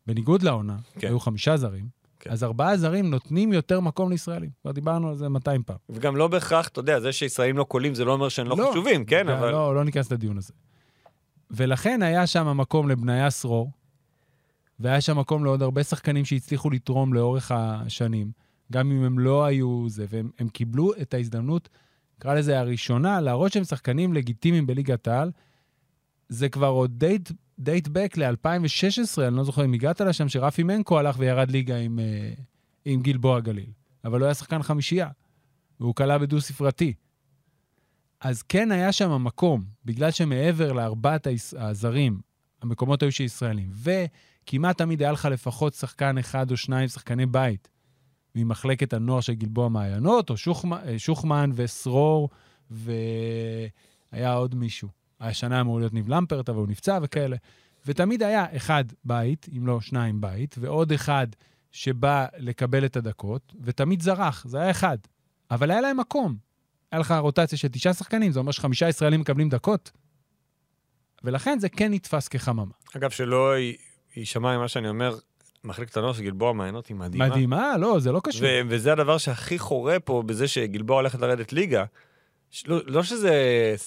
Speaker 2: בניגוד לעונה,
Speaker 3: כן.
Speaker 2: כן. היו חמישה זרים,
Speaker 3: כן.
Speaker 2: כן. אז ארבעה זרים נותנים יותר מקום לישראלים. כבר דיברנו על זה 200 פעם.
Speaker 3: וגם לא בהכרח, אתה יודע, זה שישראלים לא קולים זה לא אומר שהם לא,
Speaker 2: לא.
Speaker 3: חשובים, כן?
Speaker 2: זה-
Speaker 3: אבל...
Speaker 2: לא, לא ניכנס לדיון הזה. ולכן היה שם מקום לבניה סרור, והיה שם מקום לעוד הרבה שחקנים שהצליחו לתרום לאורך השנים, גם אם הם לא היו זה, והם הם קיבלו את ההזדמנות, נקרא לזה הראשונה, להראות שהם שחקנים לגיטימיים בליגת העל. זה כבר עוד די דייט בק ל-2016, אני לא זוכר אם הגעת לשם, שרפי מנקו הלך וירד ליגה עם, אה, עם גלבוע גליל. אבל הוא היה שחקן חמישייה, והוא כלה בדו-ספרתי. אז כן היה שם מקום, בגלל שמעבר לארבעת היש- הזרים, המקומות היו של ישראלים, וכמעט תמיד היה לך לפחות שחקן אחד או שניים, שחקני בית, ממחלקת הנוער של גלבוע מעיינות, או אה, שוחמן, שוחמן וסרור, והיה עוד מישהו. השנה אמור להיות ניב למפרט, אבל הוא נפצע וכאלה. ותמיד היה אחד בית, אם לא שניים בית, ועוד אחד שבא לקבל את הדקות, ותמיד זרח, זה היה אחד. אבל היה להם מקום. היה לך רוטציה של תשעה שחקנים, זה אומר שחמישה ישראלים מקבלים דקות. ולכן זה כן נתפס כחממה.
Speaker 3: אגב, שלא י- יישמע ממה שאני אומר, מחלקת הנוער של גלבוע מעיינות היא מדהימה.
Speaker 2: מדהימה, לא, זה לא קשור.
Speaker 3: ו- וזה הדבר שהכי חורה פה בזה שגלבוע הולכת לרדת ליגה. ש- לא, לא שזה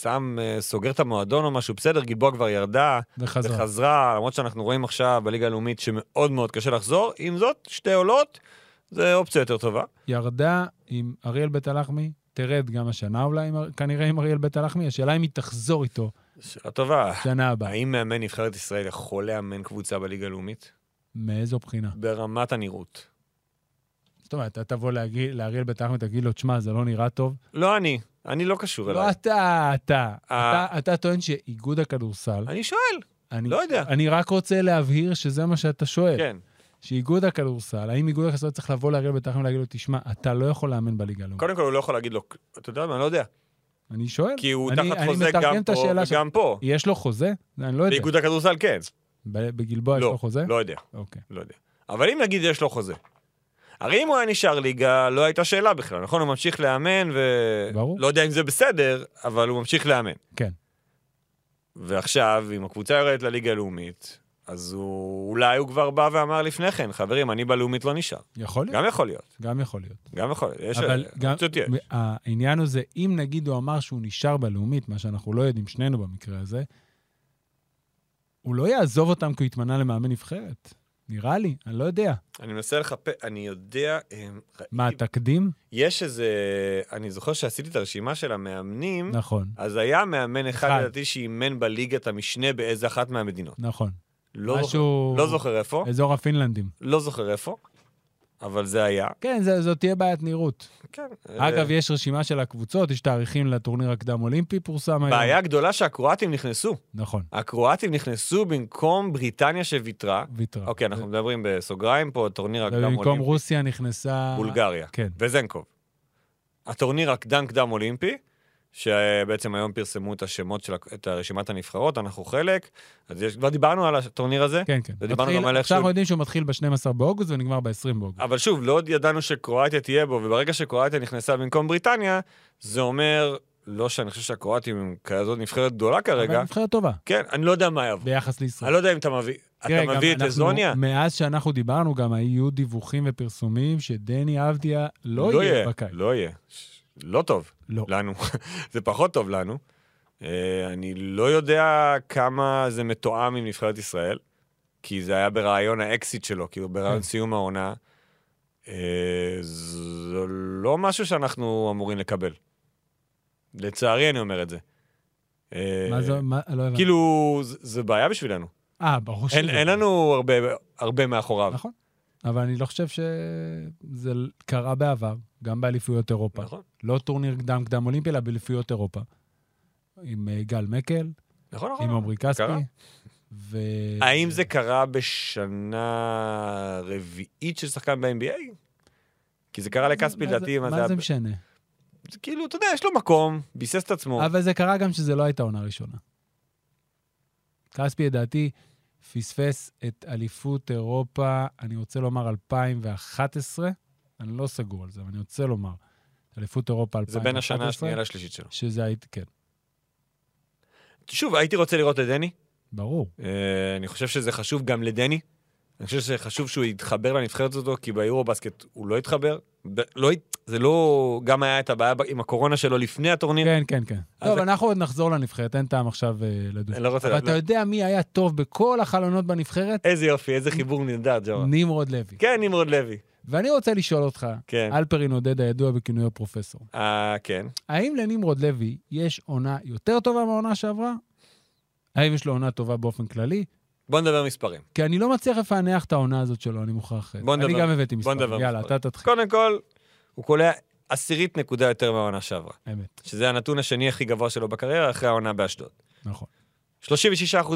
Speaker 3: שם, אה, סוגר את המועדון או משהו, בסדר, גלבוע כבר ירדה
Speaker 2: וחזרה.
Speaker 3: וחזרה, למרות שאנחנו רואים עכשיו בליגה הלאומית שמאוד מאוד קשה לחזור. עם זאת, שתי עולות, זה אופציה יותר טובה.
Speaker 2: ירדה עם אריאל בית הלחמי, תרד גם השנה אולי, עם- כנראה עם אריאל בית הלחמי, השאלה אם היא תחזור איתו
Speaker 3: שאלה טובה.
Speaker 2: שנה הבאה.
Speaker 3: האם מאמן נבחרת ישראל יכול לאמן קבוצה בליגה הלאומית?
Speaker 2: מאיזו בחינה?
Speaker 3: ברמת הנראות.
Speaker 2: זאת אומרת, אתה תבוא להגיד- לאריאל בית הלחמי, תגיד לו, תשמע, זה לא נראה טוב.
Speaker 3: לא אני, אני לא קשור
Speaker 2: לא
Speaker 3: אליי.
Speaker 2: אתה, אתה.
Speaker 3: אה.
Speaker 2: אתה- אתה טוען שאיגוד הכדורסל,
Speaker 3: אני שואל,
Speaker 2: אני-
Speaker 3: לא יודע.
Speaker 2: אני רק רוצה להבהיר שזה מה שאתה שואל.
Speaker 3: כן.
Speaker 2: שאיגוד הכדורסל, האם איגוד הכדורסל צריך לבוא לאריאל בית הלחמי ולהגיד לו, תשמע, אתה לא יכול לאמן בליגה הלאומית.
Speaker 3: קודם כל, הוא לא יכול להגיד לו, אתה יודע מה, אני לא יודע.
Speaker 2: אני שואל.
Speaker 3: כי הוא
Speaker 2: כן. אני-
Speaker 3: תחת
Speaker 2: אני
Speaker 3: חוזה
Speaker 2: מתרגם
Speaker 3: גם
Speaker 2: את
Speaker 3: פה
Speaker 2: השאלה ש-
Speaker 3: וגם פה.
Speaker 2: יש לו חוזה? אני לא יודע.
Speaker 3: באיגוד הכדורסל כן.
Speaker 2: ב- בגלבוע יש
Speaker 3: לא,
Speaker 2: לו חוזה?
Speaker 3: לא יודע,
Speaker 2: אוקיי.
Speaker 3: לא יודע. אבל אם נגיד יש לו חוזה. הרי אם הוא היה נשאר ליגה, לא הייתה שאלה בכלל, נכון? הוא ממשיך לאמן ו...
Speaker 2: ברור.
Speaker 3: לא יודע אם זה בסדר, אבל הוא ממשיך לאמן.
Speaker 2: כן.
Speaker 3: ועכשיו, אם הקבוצה יורדת לליגה הלאומית, אז הוא... אולי הוא כבר בא ואמר לפני כן, חברים, אני בלאומית לא נשאר.
Speaker 2: יכול להיות,
Speaker 3: גם יכול להיות,
Speaker 2: גם יכול להיות.
Speaker 3: גם יכול להיות. יש...
Speaker 2: אבל אה, גם,
Speaker 3: אופציות יש.
Speaker 2: העניין הוא זה, אם נגיד הוא אמר שהוא נשאר בלאומית, מה שאנחנו לא יודעים שנינו במקרה הזה, הוא לא יעזוב אותם כי הוא התמנה למאמן נבחרת. נראה לי, אני לא יודע.
Speaker 3: אני מנסה לחפש, אני יודע... אמ,
Speaker 2: מה,
Speaker 3: ראיתי-
Speaker 2: תקדים?
Speaker 3: יש איזה... אני זוכר שעשיתי את הרשימה של המאמנים.
Speaker 2: נכון,
Speaker 3: אז היה מאמן אחד,
Speaker 2: אחד.
Speaker 3: לדעתי, שאימן בליגת המשנה באיזה אחת מהמדינות.
Speaker 2: נכון.
Speaker 3: לא זוכר-
Speaker 2: משהו...
Speaker 3: לא זוכר איפה,
Speaker 2: אזור הפינלנדים.
Speaker 3: לא זוכר איפה, אבל זה היה.
Speaker 2: כן, זה- זאת תהיה בעיית נראות.
Speaker 3: כן.
Speaker 2: אגב, יש רשימה של הקבוצות, יש תאריכים לטורניר הקדם-אולימפי, פורסם היום.
Speaker 3: בעיה גדולה שהקרואטים נכנסו.
Speaker 2: נכון,
Speaker 3: הקרואטים נכנסו במקום בריטניה שוויתרה.
Speaker 2: ויתרה.
Speaker 3: אוקיי, אנחנו מדברים בסוגריים פה, טורניר הקדם
Speaker 2: נכון. במקום
Speaker 3: אולימפי,
Speaker 2: רוסיה נכנסה...
Speaker 3: בולגריה,
Speaker 2: כן.
Speaker 3: וזנקוב. הטורניר הקדם קדם אולימפי, שבעצם היום פרסמו את השמות של ה- את רשימת הנבחרות, אנחנו חלק, אז יש- כבר דיברנו על הטורניר הזה,
Speaker 2: כן, כן.
Speaker 3: ודיברנו
Speaker 2: מתחיל-
Speaker 3: גם על איך
Speaker 2: עכשיו
Speaker 3: שהוא-
Speaker 2: אנחנו יודעים שהוא מתחיל ב-12 באוגוסט ונגמר ב-20 באוגוסט.
Speaker 3: אבל שוב, לא עוד ידענו שקרואטיה תהיה בו, וברגע שקרואטיה נכנסה במקום בריטניה, זה אומר, לא שאני חושב שהקרואטים הם כזאת נבחרת גדולה
Speaker 2: אבל
Speaker 3: כרגע,
Speaker 2: נבחרת טובה
Speaker 3: כן, אני לא יודע מה יבוא.
Speaker 2: ביחס לישראל.
Speaker 3: אני לא יודע אם אתה מביא,
Speaker 2: תראה,
Speaker 3: אתה
Speaker 2: גם
Speaker 3: מביא את
Speaker 2: אנחנו-
Speaker 3: לזוניה?
Speaker 2: מאז שאנחנו דיברנו, גם היו דיווחים ופרסומים שדני אבדיה לא יהיה בקיץ.
Speaker 3: לא יהיה. ש- לא טוב
Speaker 2: לא.
Speaker 3: לנו, זה פחות טוב לנו. אה, אני לא יודע כמה זה מתואם עם נבחרת ישראל, כי זה היה ברעיון האקסיט שלו, כאילו ברעיון
Speaker 2: כן.
Speaker 3: סיום העונה. אה, זה לא משהו שאנחנו אמורים לקבל. לצערי אני אומר את זה. אה,
Speaker 2: מה זה, מה, לא הבנתי.
Speaker 3: כאילו, זה- זה בעיה בשבילנו.
Speaker 2: אה, ברור
Speaker 3: אין
Speaker 2: שזה.
Speaker 3: אין לנו הרבה- הרבה מאחוריו.
Speaker 2: נכון. אבל אני לא חושב שזה קרה בעבר, גם באליפויות אירופה.
Speaker 3: נכון,
Speaker 2: לא טורניר קדם קדם אולימפי, אלא באליפויות אירופה. עם אה, גל מקל,
Speaker 3: נכון,
Speaker 2: עם
Speaker 3: נכון.
Speaker 2: עמרי כספי.
Speaker 3: קרה.
Speaker 2: ו...
Speaker 3: האם זה קרה בשנה רביעית של שחקן ב-NBA? כי זה קרה לכספי
Speaker 2: מה זה-
Speaker 3: לדעתי, מה זה
Speaker 2: מה זה
Speaker 3: היה...
Speaker 2: משנה?
Speaker 3: זה כאילו, אתה יודע, יש לו מקום, ביסס את עצמו.
Speaker 2: אבל זה קרה גם שזה לא הייתה עונה ראשונה. כספי, לדעתי, פספס את אליפות אירופה, אני רוצה לומר 2011, אני לא סגור על זה, אבל אני רוצה לומר, אליפות אירופה 2011.
Speaker 3: זה בין השנה השנייה לשלישית שלו.
Speaker 2: שזה היית, כן,
Speaker 3: שוב, הייתי רוצה לראות את דני.
Speaker 2: ברור.
Speaker 3: אה, אני חושב שזה חשוב גם לדני. אני חושב שזה חשוב שהוא יתחבר לנבחרת הזו, כי ביורו-בסקט הוא לא התחבר. ב- לא, הת- זה לא... גם היה את הבעיה ב- עם הקורונה שלו לפני הטורניר.
Speaker 2: כן, כן, כן.
Speaker 3: אז
Speaker 2: טוב,
Speaker 3: זה-
Speaker 2: אנחנו עוד נחזור לנבחרת, אין טעם עכשיו אה, לדון.
Speaker 3: אני לא רוצה...
Speaker 2: אבל אתה
Speaker 3: לא-
Speaker 2: יודע מי היה טוב בכל החלונות בנבחרת?
Speaker 3: איזה יופי, איזה חיבור נהדר, ג'ורה.
Speaker 2: נמרוד לוי.
Speaker 3: לא. כן, נמרוד לוי.
Speaker 2: ואני רוצה לשאול אותך,
Speaker 3: כן.
Speaker 2: אלפרין עודד הידוע בכינויו פרופסור,
Speaker 3: אה, כן.
Speaker 2: האם לנמרוד לוי יש עונה יותר טובה מהעונה שעברה? האם יש לו עונה טובה באופן כללי?
Speaker 3: בוא נדבר מספרים.
Speaker 2: כי אני לא מצליח לפענח את העונה הזאת שלו, אני מוכרח.
Speaker 3: בוא
Speaker 2: אני
Speaker 3: נדבר-
Speaker 2: גם הבאתי
Speaker 3: בוא
Speaker 2: מספרים.
Speaker 3: נדבר
Speaker 2: יאללה,
Speaker 3: מספרים.
Speaker 2: אתה תתחיל.
Speaker 3: קודם כל, הוא קולע עשירית נקודה יותר מהעונה שעברה,
Speaker 2: אמת,
Speaker 3: שזה הנתון השני הכי גבוה שלו בקריירה אחרי העונה באשדוד.
Speaker 2: נכון.
Speaker 3: 36%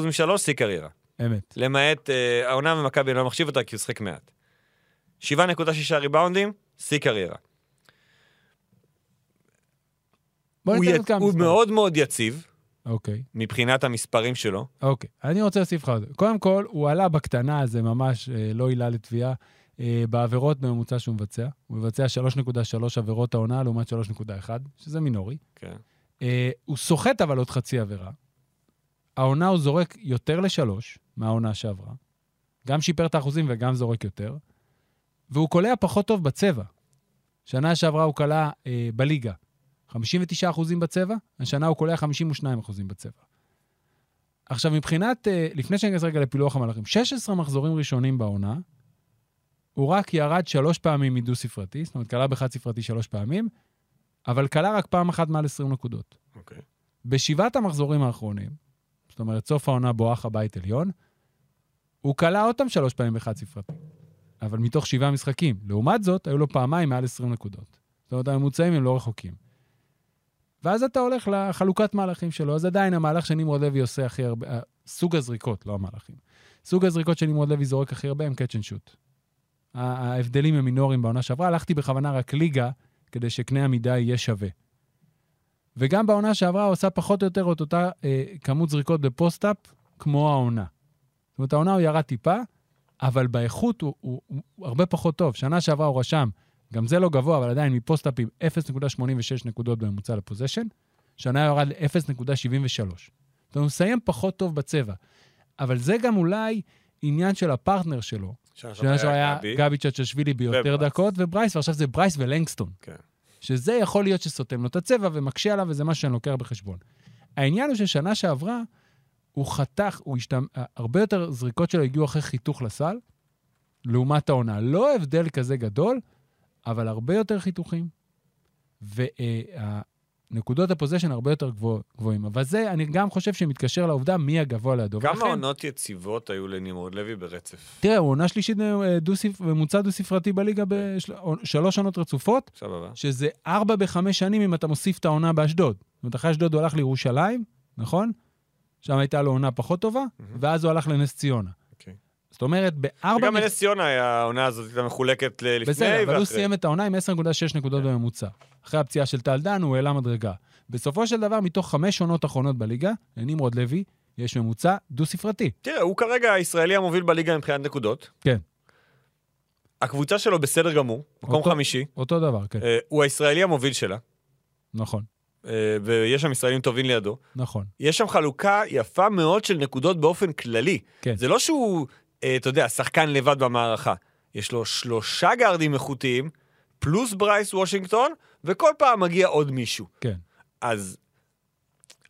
Speaker 3: משלוש, שיא קריירה.
Speaker 2: אמת.
Speaker 3: למעט אה, העונה במכבי, אני לא מחשיב אותה כי הוא שחק מעט. 7.6 ריבאונדים, שיא קריירה.
Speaker 2: בוא
Speaker 3: הוא,
Speaker 2: ניתן
Speaker 3: י...
Speaker 2: עוד כמה
Speaker 3: הוא
Speaker 2: מספרים.
Speaker 3: מאוד מאוד יציב
Speaker 2: אוקיי,
Speaker 3: מבחינת המספרים שלו.
Speaker 2: אוקיי. אני רוצה להוסיף לך עוד. קודם כל, הוא עלה בקטנה, זה ממש אה, לא עילה לתביעה, אה, בעבירות בממוצע שהוא מבצע. הוא מבצע 3.3 עבירות העונה לעומת 3.1, שזה מינורי.
Speaker 3: כן.
Speaker 2: אה, הוא סוחט אבל עוד חצי עבירה. העונה הוא זורק יותר לשלוש מהעונה שעברה. גם שיפר את האחוזים וגם זורק יותר. והוא קולע פחות טוב בצבע. שנה שעברה הוא קלע אה, בליגה 59% בצבע, השנה הוא קולע 52% בצבע. עכשיו, מבחינת, אה, לפני שניכנס רגע לפילוח המהלכים, 16 מחזורים ראשונים בעונה, הוא רק ירד שלוש פעמים מדו-ספרתי, זאת אומרת, קלע בחד-ספרתי שלוש פעמים, אבל קלע רק פעם אחת מעל 20 נקודות.
Speaker 3: אוקיי.
Speaker 2: בשבעת המחזורים האחרונים, זאת אומרת, סוף העונה בואך הבית עליון, הוא כלא עוד פעם שלוש פעמים בחד ספרתי, אבל מתוך שבעה משחקים. לעומת זאת, היו לו פעמיים מעל 20 נקודות. זאת אומרת, הממוצעים הם לא רחוקים. ואז אתה הולך לחלוקת מהלכים שלו, אז עדיין המהלך שנמרוד לוי עושה הכי הרבה, אה, סוג הזריקות, לא המהלכים. סוג הזריקות שנמרוד לוי זורק הכי הרבה הם catch and shoot. ה- ההבדלים הם מינוריים בעונה שעברה, הלכתי בכוונה רק ליגה, כדי שקנה המידה יהיה שווה. וגם בעונה שעברה הוא עשה פחות או יותר את אותה אה, כמות זריקות בפוסט-אפ כמו העונה. זאת אומרת, העונה הוא ירד טיפה, אבל באיכות הוא, הוא, הוא, הוא הרבה פחות טוב. שנה שעברה הוא רשם, גם זה לא גבוה, אבל עדיין מפוסט-אפים 0.86 נקודות בממוצע לפוזיישן, שנה הוא ירד ל-0.73. זאת אומרת, הוא מסיים פחות טוב בצבע. אבל זה גם אולי עניין של הפרטנר שלו.
Speaker 3: שנה
Speaker 2: שנה שעברה היה גבי צ'צ'שווילי ביותר
Speaker 3: וברייס.
Speaker 2: דקות, וברייס, ועכשיו זה ברייס ולנגסטון.
Speaker 3: כן.
Speaker 2: שזה יכול להיות שסותם לו את הצבע ומקשה עליו, וזה משהו שאני לוקח בחשבון. העניין הוא ששנה שעברה, הוא חתך, הוא השתמ... אה, הרבה יותר זריקות שלו הגיעו אחרי חיתוך לסל, לעומת העונה. לא הבדל כזה גדול, אבל הרבה יותר חיתוכים. והנקודות הפוזיישן הרבה יותר גבוה, גבוהים. אבל זה, אני גם חושב שמתקשר לעובדה מי הגבוה לידו.
Speaker 3: כמה
Speaker 2: ולכן-
Speaker 3: עונות יציבות היו לנמרוד לוי ברצף?
Speaker 2: תראה, הוא עונה שלישית אה, דו-ספ- ממוצע דו-ספרתי בליגה בשלוש עונות רצופות,
Speaker 3: סבבה.
Speaker 2: שזה ארבע בחמש שנים אם אתה מוסיף את העונה באשדוד. זאת אומרת, אחרי אשדוד הוא הלך לירושלים, נכון? שם הייתה לו עונה פחות טובה, ואז הוא הלך לנס ציונה.
Speaker 3: אוקיי.
Speaker 2: זאת אומרת, בארבע...
Speaker 3: וגם בנס ציונה היה- העונה הזאת הייתה מחולקת ל- לפני
Speaker 2: בסדר,
Speaker 3: ואחרי. כן.
Speaker 2: אבל הוא סיים את העונה עם 10.6 נקודות בממוצע. אחרי הפציעה של טל דן, הוא העלה מדרגה. בסופו של דבר, מתוך חמש עונות אחרונות בליגה, לנמרוד לוי, יש ממוצע דו-ספרתי.
Speaker 3: תראה, הוא כרגע הישראלי המוביל בליגה מבחינת נקודות.
Speaker 2: כן.
Speaker 3: הקבוצה שלו בסדר גמור, מקום
Speaker 2: אותו-
Speaker 3: חמישי.
Speaker 2: אותו דבר, כן.
Speaker 3: אה, הוא הישראלי המוביל שלה,
Speaker 2: נכון,
Speaker 3: אה, ויש שם ישראלים טובים לידו.
Speaker 2: נכון.
Speaker 3: יש שם חלוקה יפה מאוד של נקודות באופן כללי.
Speaker 2: כן.
Speaker 3: זה לא שהוא, אה, אתה יודע, שחקן לבד במערכה. יש לו שלושה גארדים איכותיים, פלוס ברייס וושינגטון, וכל פעם מגיע עוד מישהו.
Speaker 2: כן.
Speaker 3: אז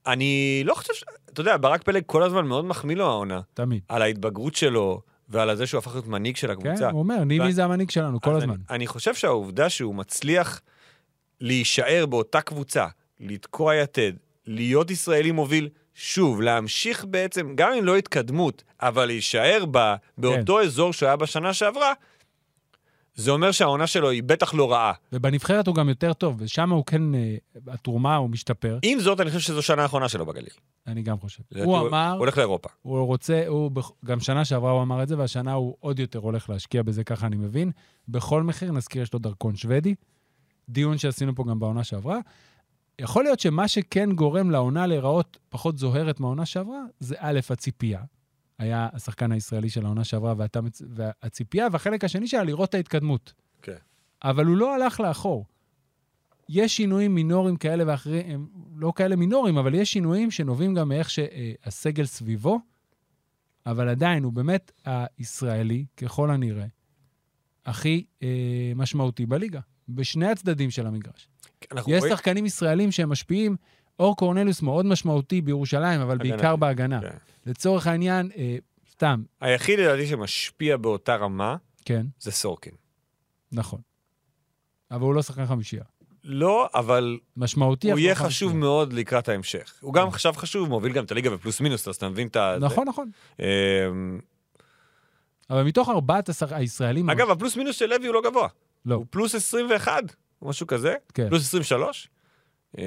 Speaker 3: אני לא חושב ש... אתה יודע, ברק פלג כל הזמן מאוד מחמיא לו העונה,
Speaker 2: תמיד.
Speaker 3: על ההתבגרות שלו, ועל זה שהוא הפך להיות מנהיג של הקבוצה.
Speaker 2: כן, הוא אומר,
Speaker 3: ו-
Speaker 2: נימי זה המנהיג שלנו כל
Speaker 3: אז
Speaker 2: הזמן.
Speaker 3: אני, אני חושב שהעובדה שהוא מצליח להישאר באותה קבוצה, לתקוע יתד, להיות ישראלי מוביל, שוב, להמשיך בעצם, גם אם לא התקדמות, אבל להישאר ב, באותו כן. אזור שהוא היה בשנה שעברה, זה אומר שהעונה שלו היא בטח לא רעה.
Speaker 2: ובנבחרת הוא גם יותר טוב, ושם הוא כן, אה, התרומה, הוא משתפר.
Speaker 3: עם זאת, אני חושב שזו שנה האחרונה שלו בגליל.
Speaker 2: אני גם חושב.
Speaker 3: לדעתי
Speaker 2: הוא אמר,
Speaker 3: הוא הולך לאירופה.
Speaker 2: הוא רוצה, הוא, בכ- גם שנה שעברה הוא אמר את זה, והשנה הוא עוד יותר הולך להשקיע בזה, ככה אני מבין. בכל מחיר, נזכיר, יש לו דרכון שוודי. דיון שעשינו פה גם בעונה שעברה. יכול להיות שמה שכן גורם לעונה להיראות פחות זוהרת מהעונה שעברה, זה א', הציפייה. היה השחקן הישראלי של העונה שעברה, ואתה, מצ- והציפייה, והחלק השני שלה, לראות את ההתקדמות.
Speaker 3: כן.
Speaker 2: אבל הוא לא הלך לאחור. יש שינויים מינוריים כאלה ואחרים, הם לא כאלה מינוריים, אבל יש שינויים שנובעים גם מאיך שהסגל סביבו, אבל עדיין הוא באמת הישראלי, ככל הנראה, הכי אה, משמעותי בליגה, בשני הצדדים של המגרש.
Speaker 3: אנחנו
Speaker 2: יש
Speaker 3: רואים-
Speaker 2: שחקנים ישראלים שהם משפיעים. אור קורנליוס מאוד משמעותי בירושלים, אבל בעיקר
Speaker 3: הגנתי,
Speaker 2: בהגנה.
Speaker 3: כן.
Speaker 2: לצורך העניין, אה, סתם,
Speaker 3: היחיד לדעתי שמשפיע באותה רמה
Speaker 2: כן,
Speaker 3: זה סורקין.
Speaker 2: נכון. אבל הוא לא שחקן חמישייה.
Speaker 3: לא, אבל
Speaker 2: משמעותי.
Speaker 3: הוא
Speaker 2: אבל
Speaker 3: יהיה
Speaker 2: לא חד
Speaker 3: חשוב
Speaker 2: משמעי.
Speaker 3: מאוד לקראת ההמשך. הוא גם חשב חשוב, מוביל גם את הליגה בפלוס מינוס, אז אתה מבין את ה...
Speaker 2: כן. נכון, נכון.
Speaker 3: אמ,
Speaker 2: אבל מתוך ארבעת עשר הישראלים...
Speaker 3: אגב, הפלוס מינוס של לוי הוא לא גבוה.
Speaker 2: לא.
Speaker 3: הוא פלוס 21, או משהו כזה,
Speaker 2: כן.
Speaker 3: פלוס 23. אמ,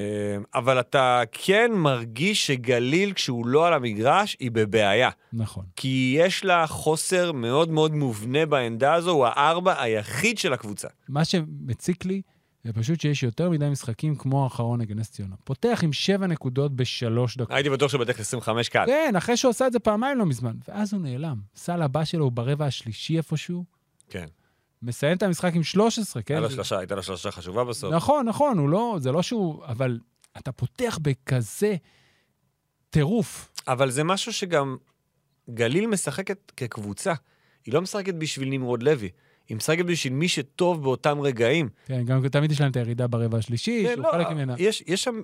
Speaker 3: אבל אתה כן מרגיש שגליל, כשהוא לא על המגרש, היא בבעיה.
Speaker 2: נכון.
Speaker 3: כי יש לה חוסר מאוד מאוד מובנה בעמדה הזו, הוא הארבע היחיד של הקבוצה.
Speaker 2: מה שמציק לי זה פשוט שיש יותר מדי משחקים כמו האחרון נגד נס ציונה. פותח עם שבע נקודות בשלוש דקות.
Speaker 3: הייתי בטוח שבדרך 25 קהל.
Speaker 2: כן, אחרי שהוא עשה את זה פעמיים לא מזמן. ואז הוא נעלם. סל הבא שלו הוא ברבע השלישי איפשהו.
Speaker 3: כן.
Speaker 2: מסיים את המשחק עם 13, כן?
Speaker 3: היה לו שלושה, הייתה לו שלושה חשובה בסוף.
Speaker 2: נכון, נכון, הוא לא, זה לא שהוא, אבל אתה פותח בכזה טירוף.
Speaker 3: אבל זה משהו שגם גליל משחקת כקבוצה. היא לא משחקת בשביל נמרוד לוי, היא משחקת בשביל מי שטוב באותם רגעים.
Speaker 2: כן, גם תמיד יש להם את הירידה ברבע השלישי,
Speaker 3: כן,
Speaker 2: שהוא
Speaker 3: לא,
Speaker 2: חלק ממנה.
Speaker 3: יש, יש שם...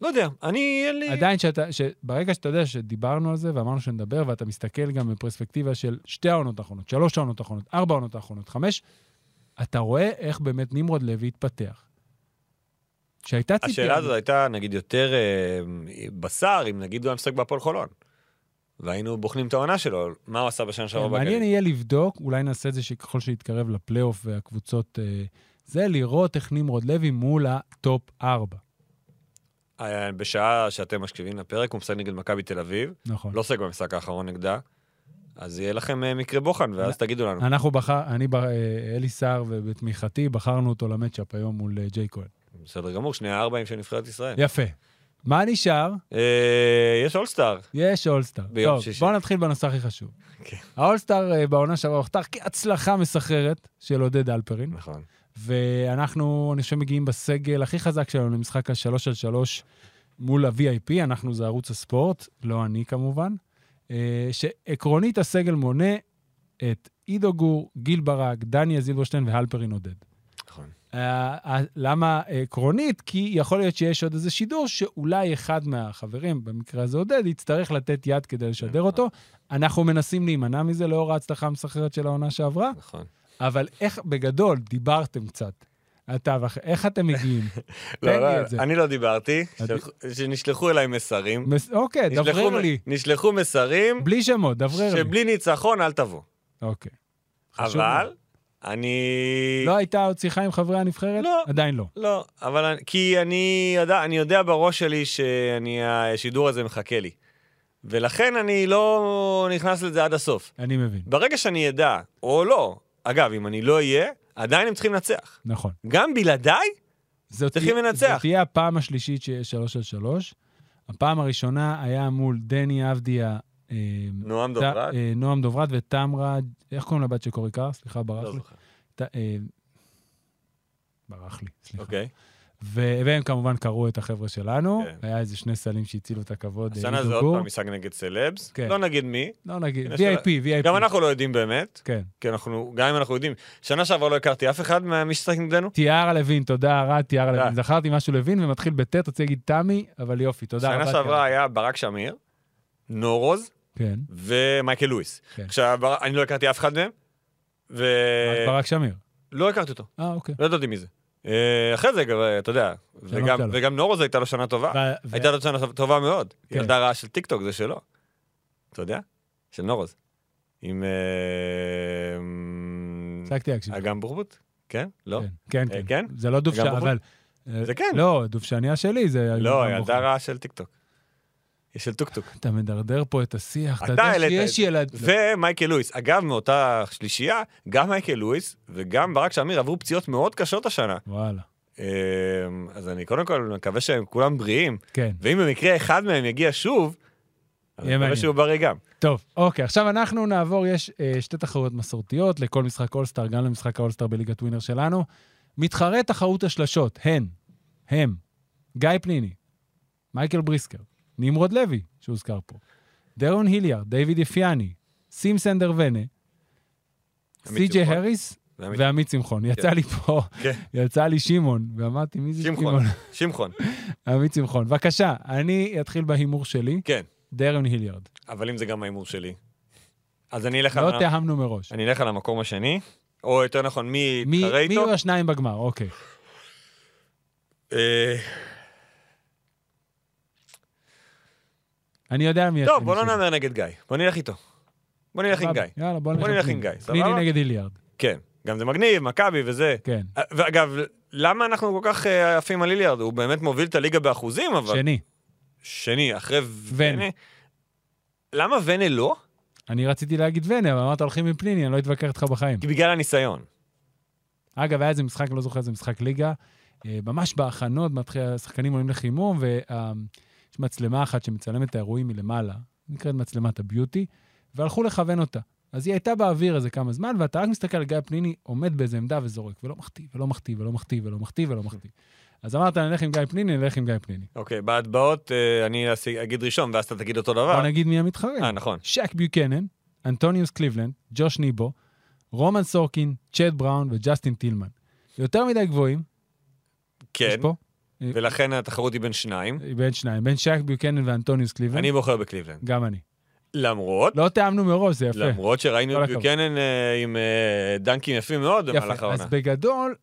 Speaker 3: לא יודע, אני, אין לי...
Speaker 2: עדיין, שאתה, שברגע שאתה יודע שדיברנו על זה ואמרנו שנדבר, ואתה מסתכל גם בפרספקטיבה של שתי העונות האחרונות, שלוש העונות האחרונות, ארבע העונות האחרונות, חמש, אתה רואה איך באמת נמרוד לוי התפתח. שהייתה ציפייה...
Speaker 3: השאלה הזאת הייתה, נגיד, יותר אה, בשר, אם נגיד הוא היה משחק בהפועל חולון. והיינו בוחנים את העונה שלו, מה הוא עשה בשנה
Speaker 2: כן,
Speaker 3: שעברה
Speaker 2: מעניין
Speaker 3: בגליל.
Speaker 2: יהיה לבדוק, אולי נעשה את זה שככל שיתקרב לפלייאוף והקבוצות... אה, זה לראות איך נמרוד לוי מול הטופ ארבע.
Speaker 3: אה, בשעה שאתם מקשיבים לפרק, הוא משחק נגד מכבי תל אביב,
Speaker 2: נכון.
Speaker 3: לא משחק במשחק האחרון נגדה, אז יהיה לכם אה, מקרה בוחן, ואז תגידו לנו.
Speaker 2: אנחנו בחר... אני, בח- אה, אלי סער ובתמיכתי, בחרנו אותו למצ'אפ היום מול אה, ג'יי כהן.
Speaker 3: בסדר גמור, שני הארבעים של נבחרת ישראל.
Speaker 2: יפה. מה נשאר?
Speaker 3: אה, יש אולסטאר.
Speaker 2: יש אולסטאר.
Speaker 3: ביום
Speaker 2: טוב,
Speaker 3: שישי.
Speaker 2: בואו נתחיל בנושא הכי חשוב.
Speaker 3: כן.
Speaker 2: האולסטאר אה, בעונה שעברה הוכתר כהצלחה מסחררת של עודד אלפרין,
Speaker 3: נכון.
Speaker 2: ואנחנו, אני חושב, מגיעים בסגל הכי חזק שלנו למשחק השלוש על שלוש מול ה-VIP, אנחנו זה ערוץ הספורט, לא אני כמובן, אה, שעקרונית הסגל מונה את עידו גור, גיל ברק, דניאל זילברשטיין והלפרין עודד.
Speaker 3: נכון.
Speaker 2: אה, אה, למה עקרונית? כי יכול להיות שיש עוד איזה שידור שאולי אחד מהחברים, במקרה הזה עודד, יצטרך לתת יד כדי לשדר אותו. אנחנו מנסים להימנע מזה לאור ההצלחה המסחררת של העונה שעברה,
Speaker 3: נכון.
Speaker 2: אבל איך, בגדול, דיברתם קצת. אתה ואח... איך אתם מגיעים? תן לי את זה.
Speaker 3: אני לא דיברתי, שלחו- שנשלחו אליי מסרים.
Speaker 2: מס... אוקיי,
Speaker 3: נשלחו
Speaker 2: דברר
Speaker 3: מ-
Speaker 2: לי.
Speaker 3: נשלחו מסרים
Speaker 2: בלי שמות, דברר לי.
Speaker 3: שבלי ניצחון אל תבוא.
Speaker 2: אוקיי. חשוב
Speaker 3: אבל
Speaker 2: מאוד.
Speaker 3: אני...
Speaker 2: לא הייתה עוד שיחה עם חברי הנבחרת?
Speaker 3: לא.
Speaker 2: עדיין לא.
Speaker 3: לא, אבל אני- כי אני יודע, אני יודע בראש שלי שאני, השידור הזה מחכה לי. ולכן אני לא נכנס לזה עד הסוף.
Speaker 2: אני מבין.
Speaker 3: ברגע שאני אדע, או לא, אגב, אם אני לא אהיה, עדיין הם צריכים לנצח.
Speaker 2: נכון.
Speaker 3: גם בלעדיי,
Speaker 2: זו
Speaker 3: צריכים
Speaker 2: תהיה-
Speaker 3: לנצח.
Speaker 2: זו תהיה הפעם השלישית שיש שלוש על שלוש. הפעם הראשונה היה מול דני אבדיה, אה,
Speaker 3: נועם
Speaker 2: ת-
Speaker 3: דוברת. לא
Speaker 2: אה, נועם דוברת וטמרה, איך קוראים לבת של קורי קאר? סליחה,
Speaker 3: לא
Speaker 2: ברח לי.
Speaker 3: זוכר.
Speaker 2: ת- אה, ברח לי, סליחה.
Speaker 3: אוקיי.
Speaker 2: ו- והם כמובן קראו את החבר'ה שלנו.
Speaker 3: כן.
Speaker 2: היה איזה שני סלים שהצילו את הכבוד. אה,
Speaker 3: השנה
Speaker 2: עידו
Speaker 3: זה עוד
Speaker 2: גור.
Speaker 3: פעם משחק נגד סלבס,
Speaker 2: כן.
Speaker 3: לא נגיד מי.
Speaker 2: לא נגיד,
Speaker 3: הנה,
Speaker 2: VIP, VIP.
Speaker 3: גם אנחנו לא יודעים באמת,
Speaker 2: כן.
Speaker 3: כי אנחנו, גם אם אנחנו יודעים, שנה שעברה לא הכרתי אף אחד מהמי ששחק נגדנו.
Speaker 2: תיארה לוין, תודה רבה, תיארה
Speaker 3: תודה.
Speaker 2: לוין. זכרתי משהו לוין ומתחיל בט', רוצה להגיד תמי, אבל יופי, תודה רבה.
Speaker 3: שנה
Speaker 2: תיארה.
Speaker 3: שעברה היה ברק שמיר, נורוז
Speaker 2: כן,
Speaker 3: ומייקל לואיס.
Speaker 2: כן.
Speaker 3: עכשיו, בר- אני לא הכרתי אף אחד מהם, ולא אה,
Speaker 2: ברק שמיר.
Speaker 3: הכרתי אותו,
Speaker 2: אה, אוקיי.
Speaker 3: לא ידעתי מי זה. אה, אחרי זה, גם, אה, אתה יודע, וגם-
Speaker 2: שלום.
Speaker 3: וגם נורוז הייתה לו שנה טובה.
Speaker 2: לא ו- ו-
Speaker 3: אה, הייתה לו שנה טובה מאוד.
Speaker 2: כן.
Speaker 3: ילדה רעה של טיקטוק זה שלו. אתה יודע? של נורוז. עם... אה,
Speaker 2: הפסקתי להקשיב.
Speaker 3: אגם בורבוט? כן? לא?
Speaker 2: כן, כן,
Speaker 3: אה,
Speaker 2: כן.
Speaker 3: כן?
Speaker 2: זה לא דובשן,
Speaker 3: גם בוחבוט?
Speaker 2: אבל... אה,
Speaker 3: זה כן.
Speaker 2: לא, דובשניה שלי זה...
Speaker 3: לא,
Speaker 2: גם
Speaker 3: ילדה
Speaker 2: בוחבוט.
Speaker 3: רעה של טיקטוק. היא של טוקטוק.
Speaker 2: אתה מדרדר פה את השיח, אתה
Speaker 3: אתה
Speaker 2: יודע
Speaker 3: העלית את
Speaker 2: שיש
Speaker 3: זה.
Speaker 2: ילד... לא,
Speaker 3: ומייקל לואיס. אגב, מאותה שלישייה, גם מייקל לואיס וגם ברק שמיר עברו פציעות מאוד קשות השנה.
Speaker 2: וואלה,
Speaker 3: אה, אז אני קודם כל מקווה שהם כולם בריאים,
Speaker 2: כן.
Speaker 3: ואם במקרה אחד מהם יגיע שוב, אז אני
Speaker 2: יהיה
Speaker 3: מקווה
Speaker 2: מעניין.
Speaker 3: שהוא בריא גם.
Speaker 2: טוב, אוקיי, עכשיו אנחנו נעבור, יש אה, שתי תחרויות מסורתיות לכל משחק אולסטאר, גם למשחק האולסטאר בליגת ווינר שלנו. מתחרי תחרות השלשות, הן, הם, גיא פניני, מייקל בריסקר, נמרוד לוי, שהוזכר פה, דרון היליאר, דיוויד יפיאני, סים סנדר ונה, סי.ג'יי
Speaker 3: שמחון.
Speaker 2: הריס
Speaker 3: ועמית-
Speaker 2: ועמית שמחון. יצא לי פה,
Speaker 3: כן.
Speaker 2: יצא לי שמעון, ואמרתי, מי זה
Speaker 3: שמחון, שמחון,
Speaker 2: עמית שמחון. בבקשה, אני אתחיל בהימור שלי,
Speaker 3: כן.
Speaker 2: דרן היליארד.
Speaker 3: אבל אם זה גם ההימור שלי, אז אני אלך על
Speaker 2: לא
Speaker 3: ה-
Speaker 2: תיאמנו מראש.
Speaker 3: אני אלך על המקום השני, או יותר נכון, מי
Speaker 2: מי
Speaker 3: יתחרה
Speaker 2: מי
Speaker 3: איתו?
Speaker 2: יהיו השניים בגמר? אוקיי.
Speaker 3: אה,
Speaker 2: כן, אני יודע מי...
Speaker 3: טוב,
Speaker 2: השני
Speaker 3: בוא לא
Speaker 2: שלי.
Speaker 3: נאמר נגד גיא. בוא נלך איתו. בוא נלך עם
Speaker 2: סבבה.
Speaker 3: גיא.
Speaker 2: יאללה, בוא נלך
Speaker 3: בוא
Speaker 2: עם
Speaker 3: נלך עם
Speaker 2: פניני.
Speaker 3: גיא, סבבה?
Speaker 2: פניני נגד איליארד,
Speaker 3: כן. גם זה מגניב, מכבי וזה.
Speaker 2: כן.
Speaker 3: אה, ואגב, למה אנחנו כל כך אה, עפים על איליארד? הוא באמת מוביל את הליגה באחוזים, אבל...
Speaker 2: שני.
Speaker 3: שני, אחרי ונה. למה ונה לא?
Speaker 2: אני רציתי להגיד ונה, אבל אמרת הולכים עם פניני, אני לא אתווכח איתך בחיים.
Speaker 3: כי בגלל הניסיון.
Speaker 2: אגב, היה איזה משחק, לא זוכר איזה משחק ליגה, אה, ממש בהכנות, מתחיל, השחקנים עולים לחימום, ויש מצלמה אחת שמצלמת את האירועים מלמעלה, נקראת מצלמת הביוטי, והלכו לכוון אותה. אז היא הייתה באוויר איזה כמה זמן, ואתה רק מסתכל על גיא פניני עומד באיזה עמדה וזורק, ולא מחטיא, ולא מחטיא, ולא מחטיא, ולא מחטיא, ולא מחטיא. אז אמרת, נלך עם גיא פניני, נלך עם גיא פניני.
Speaker 3: אוקיי, בהטבעות אה, אני אעשה- אגיד ראשון, ואז אתה תגיד אותו דבר.
Speaker 2: בוא נגיד מי המתחרים.
Speaker 3: אה, נכון.
Speaker 2: שק ביוקנן, אנטוניוס קליבלנד, ג'וש ניבו, רומן סורקין, צ'ד בראון וג'סטין טילמן. יותר מדי גבוהים, יש
Speaker 3: כן,
Speaker 2: פה,
Speaker 3: ולכן התחרות היא בין שניים.
Speaker 2: בין שניים, בין שק ביוקנן ואנטוניוס קליבלנד.
Speaker 3: אני בוחר בקליבלנד.
Speaker 2: גם אני.
Speaker 3: למרות,
Speaker 2: לא תיאמנו מראש, זה יפה.
Speaker 3: למרות שראינו
Speaker 2: כל
Speaker 3: את
Speaker 2: הכבוד.
Speaker 3: ביוקנן אה, עם אה, דנקים יפים מאוד במהלך
Speaker 2: יפה.
Speaker 3: העונה.
Speaker 2: אז בגדול,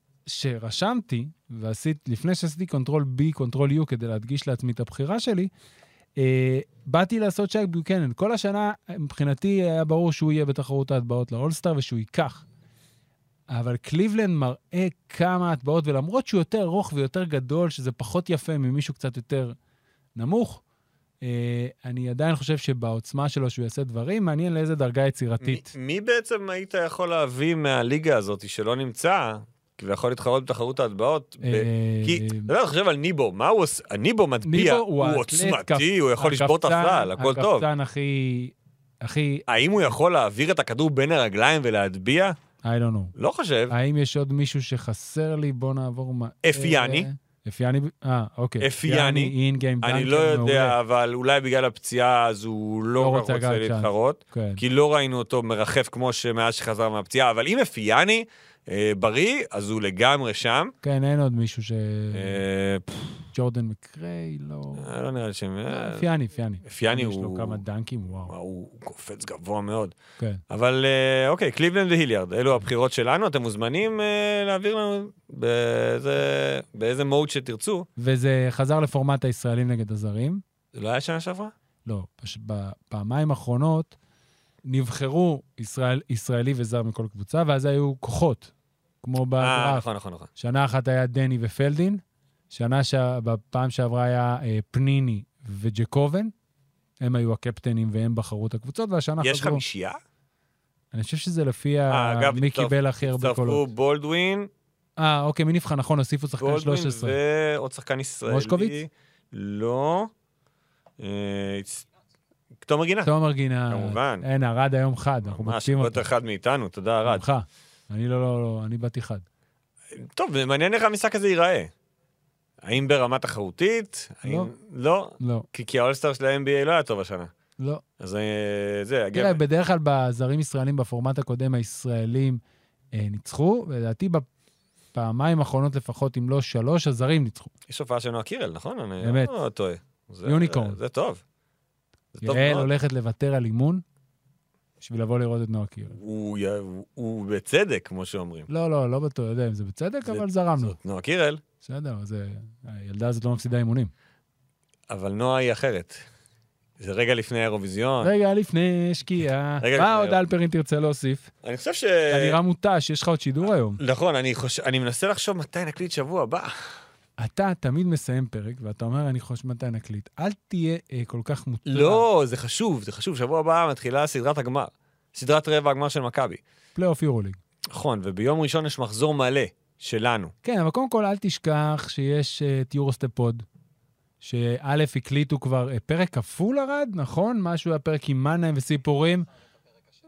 Speaker 2: שרשמתי, ועשית, לפני שעשיתי קונטרול B, קונטרול U, כדי להדגיש לעצמי את הבחירה שלי, אה, באתי לעשות שק ביוקנן. כל השנה, מבחינתי, היה ברור שהוא יהיה בתחרות ההטבעות לאולסטאר ושהוא ייקח. אבל קליבלנד מראה כמה הטבעות, ולמרות שהוא יותר ארוך ויותר גדול, שזה פחות יפה ממישהו קצת יותר נמוך, אה, אני עדיין חושב שבעוצמה שלו שהוא יעשה דברים, מעניין לאיזה דרגה יצירתית.
Speaker 3: מי- מי בעצם היית יכול להביא מהליגה הזאת שלא נמצא, כביכול להתחרות בתחרות ההטבעות? ב-
Speaker 2: אה,
Speaker 3: כי, אתה יודע, אתה חושב על ניבו, מה הוא עושה? ניבו מטביע,
Speaker 2: ניבו
Speaker 3: הוא
Speaker 2: האתלט,
Speaker 3: עוצמתי,
Speaker 2: כפ-
Speaker 3: הוא יכול לשבור את
Speaker 2: הקפצן-
Speaker 3: הסל, הכל טוב.
Speaker 2: הקפצן הכי... הכי...
Speaker 3: האם הוא יכול להעביר את הכדור בין הרגליים ולהטביע?
Speaker 2: I don't know.
Speaker 3: לא חושב.
Speaker 2: האם יש עוד מישהו שחסר לי? בוא נעבור מה...
Speaker 3: אפיאני.
Speaker 2: אפיאני? אה, אוקיי.
Speaker 3: אפיאני.
Speaker 2: אין גיים
Speaker 3: אני לא יודע, אבל אולי בגלל הפציעה אז הוא
Speaker 2: כן, לא
Speaker 3: לא כל כך
Speaker 2: רוצה
Speaker 3: רוצה
Speaker 2: גם צ'אנס.
Speaker 3: להתחרות.
Speaker 2: כן.
Speaker 3: כי לא ראינו אותו מרחף כמו שמאז שחזר מהפציעה, אבל אם אפיאני אה, בריא, אז הוא לגמרי שם.
Speaker 2: כן, אין עוד מישהו ש...
Speaker 3: אה, פפ,
Speaker 2: ג'ורדן מקריי? לא...
Speaker 3: אה, לא נראה לי שהם... אה,
Speaker 2: אפיאני, אפיאני.
Speaker 3: אפיאני
Speaker 2: יש לו
Speaker 3: הוא...
Speaker 2: כמה דנקים, וואו.
Speaker 3: וואו, הוא קופץ גבוה מאוד.
Speaker 2: כן.
Speaker 3: אבל אה, אוקיי, קליבלנד והיליארד, אלו הבחירות שלנו, אתם מוזמנים אה, להעביר לנו באיזה- באיזה מוד שתרצו.
Speaker 2: וזה חזר לפורמט הישראלים נגד הזרים.
Speaker 3: זה לא היה שנה שעברה?
Speaker 2: לא, פש- בפעמיים האחרונות נבחרו ישראל, ישראלי וזר מכל קבוצה, ואז היו כוחות, כמו
Speaker 3: אה,
Speaker 2: בגרף.
Speaker 3: נכון, נכון, נכון.
Speaker 2: שנה אחת היה דני ופלדין, שנה ש... בפעם שעברה היה אה, פניני וג'קובן, הם היו הקפטנים והם בחרו את הקבוצות, והשנה
Speaker 3: יש
Speaker 2: חזרו.
Speaker 3: חמישייה?
Speaker 2: אני חושב שזה לפי ה...
Speaker 3: אה, אגב,
Speaker 2: מי
Speaker 3: הצטרפ-
Speaker 2: קיבל הכי הרבה
Speaker 3: הצטרפו
Speaker 2: קולות.
Speaker 3: בולדווין,
Speaker 2: אה, אוקיי, מי נבחר? נכון, הוסיפו שחקן
Speaker 3: גולדווין
Speaker 2: 13.
Speaker 3: ועוד שחקן ישראלי.
Speaker 2: מושקוביץ?
Speaker 3: לא. אה, הצ- תומר גינה.
Speaker 2: תומר גינה...
Speaker 3: כמובן.
Speaker 2: אין, ארד היום חד, אנחנו
Speaker 3: ממש,
Speaker 2: בודקים
Speaker 3: עוד
Speaker 2: אותו.
Speaker 3: אחד מאיתנו, תודה ארד.
Speaker 2: ממך. אני לא, לא, לא, אני באתי חד.
Speaker 3: טוב, מעניין איך המשחק הזה ייראה. האם ברמה תחרותית?
Speaker 2: לא.
Speaker 3: האם- לא.
Speaker 2: לא,
Speaker 3: כי כי האולסטאר של ה-NBA לא היה טוב השנה.
Speaker 2: לא.
Speaker 3: אז אה, זה,
Speaker 2: תראה,
Speaker 3: הגבר.
Speaker 2: בדרך כלל בזרים ישראלים, בפורמט הקודם, הישראלים אה, ניצחו, ולדעתי בפעמיים האחרונות לפחות, אם לא שלוש, הזרים ניצחו.
Speaker 3: יש הופעה של נועה קירל, נכון? אני
Speaker 2: אמת.
Speaker 3: לא טועה. זה-
Speaker 2: יוניקורן.
Speaker 3: זה טוב. זה טוב
Speaker 2: יעל
Speaker 3: מאוד.
Speaker 2: הולכת לוותר על אימון בשביל לבוא לראות את נועה קירל.
Speaker 3: הוא י- הוא- הוא בצדק, כמו שאומרים.
Speaker 2: לא, לא, לא בטוח, יודע אם זה בצדק,
Speaker 3: זה-
Speaker 2: אבל זרמנו.
Speaker 3: זאת נועה קירל,
Speaker 2: בסדר, זה... הילדה הזאת לא מפסידה אימונים.
Speaker 3: אבל נועה היא אחרת. זה רגע לפני האירוויזיון.
Speaker 2: רגע לפני שקיעה,
Speaker 3: נכון. רגע לפני, אה,
Speaker 2: מה עוד
Speaker 3: לא.
Speaker 2: אלפרין תרצה להוסיף?
Speaker 3: אני חושב ש...
Speaker 2: אתה נראה מותש, יש לך עוד שידור היום.
Speaker 3: נכון, אני חושב- אני מנסה לחשוב מתי נקליט שבוע הבא.
Speaker 2: אתה תמיד מסיים פרק, ואתה אומר, אני חושב מתי נקליט. אל תהיה אה, כל כך מותש.
Speaker 3: לא, זה חשוב, זה חשוב. שבוע הבא מתחילה סדרת הגמר. סדרת רבע הגמר של מכבי.
Speaker 2: פלייאוף יורוליג.
Speaker 3: נכון, וביום ראשון יש מחזור מלא שלנו.
Speaker 2: כן, אבל קודם כל אל תשכח שיש אה, את יורוסטפוד, שא' הקליטו כבר אה, פרק כפול ארד, נכון? משהו היה פרק עם מנהיים וסיפורים,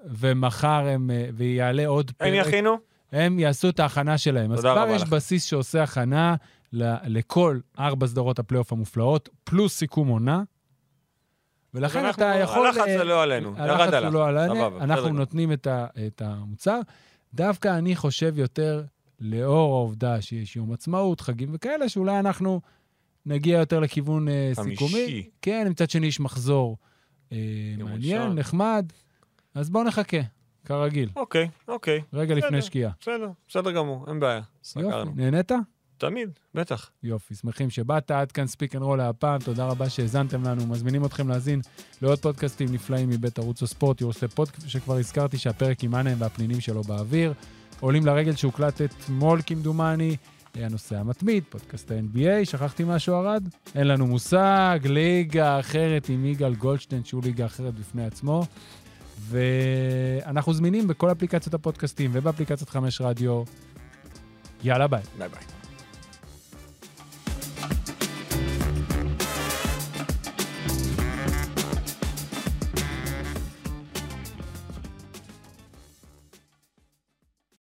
Speaker 2: ומחר הם, אה, ויעלה עוד
Speaker 3: הם
Speaker 2: פרק.
Speaker 3: יכינו?
Speaker 2: הם יעשו את ההכנה שלהם. אז
Speaker 3: תודה
Speaker 2: כבר
Speaker 3: רבה
Speaker 2: יש
Speaker 3: לך.
Speaker 2: בסיס שעושה הכנה ל- לכל ארבע סדרות הפלייאוף המופלאות, פלוס סיכום עונה. ולכן
Speaker 3: אנחנו-
Speaker 2: אתה יכול...
Speaker 3: הלחץ
Speaker 2: אה,
Speaker 3: זה לא עלינו, ירד
Speaker 2: הלחץ הוא
Speaker 3: עליו.
Speaker 2: לא עלינו,
Speaker 3: סבבה, בסדר
Speaker 2: אנחנו
Speaker 3: גמור.
Speaker 2: נותנים את ה- את המוצר. דווקא אני חושב יותר, לאור העובדה שיש יום עצמאות, חגים וכאלה, שאולי אנחנו נגיע יותר לכיוון אה,
Speaker 3: חמישי.
Speaker 2: סיכומי. כן, מצד שני יש מחזור אה,
Speaker 3: יום
Speaker 2: מעניין,
Speaker 3: ראשון.
Speaker 2: נחמד. אז בואו נחכה, כרגיל,
Speaker 3: אוקיי, אוקיי,
Speaker 2: רגע לפני
Speaker 3: בסדר.
Speaker 2: שקיעה.
Speaker 3: בסדר, בסדר גמור, אין בעיה.
Speaker 2: יופי,
Speaker 3: סגרנו.
Speaker 2: נהנית?
Speaker 3: תמיד, בטח.
Speaker 2: יופי, שמחים שבאת, עד כאן ספיק אנד רול להפעם, תודה רבה שהאזנתם לנו, מזמינים אתכם להאזין לעוד פודקאסטים נפלאים מבית ערוץ הספורט, יורסי פודקאסט שכבר הזכרתי שהפרק עם אנה והפנינים שלו באוויר, עולים לרגל שהוקלט אתמול כמדומני, אה, הנושא המתמיד, פודקאסט ה-NBA, שכחתי משהו ארד? אין לנו מושג, ליגה אחרת עם יגאל גולדשטיין, שהוא ליגה אחרת בפני עצמו. ואנחנו זמינים בכל אפליקציות הפודקאסטים ובאפליקציית חמש רדיו. יאללה ביי.
Speaker 3: ביי ביי.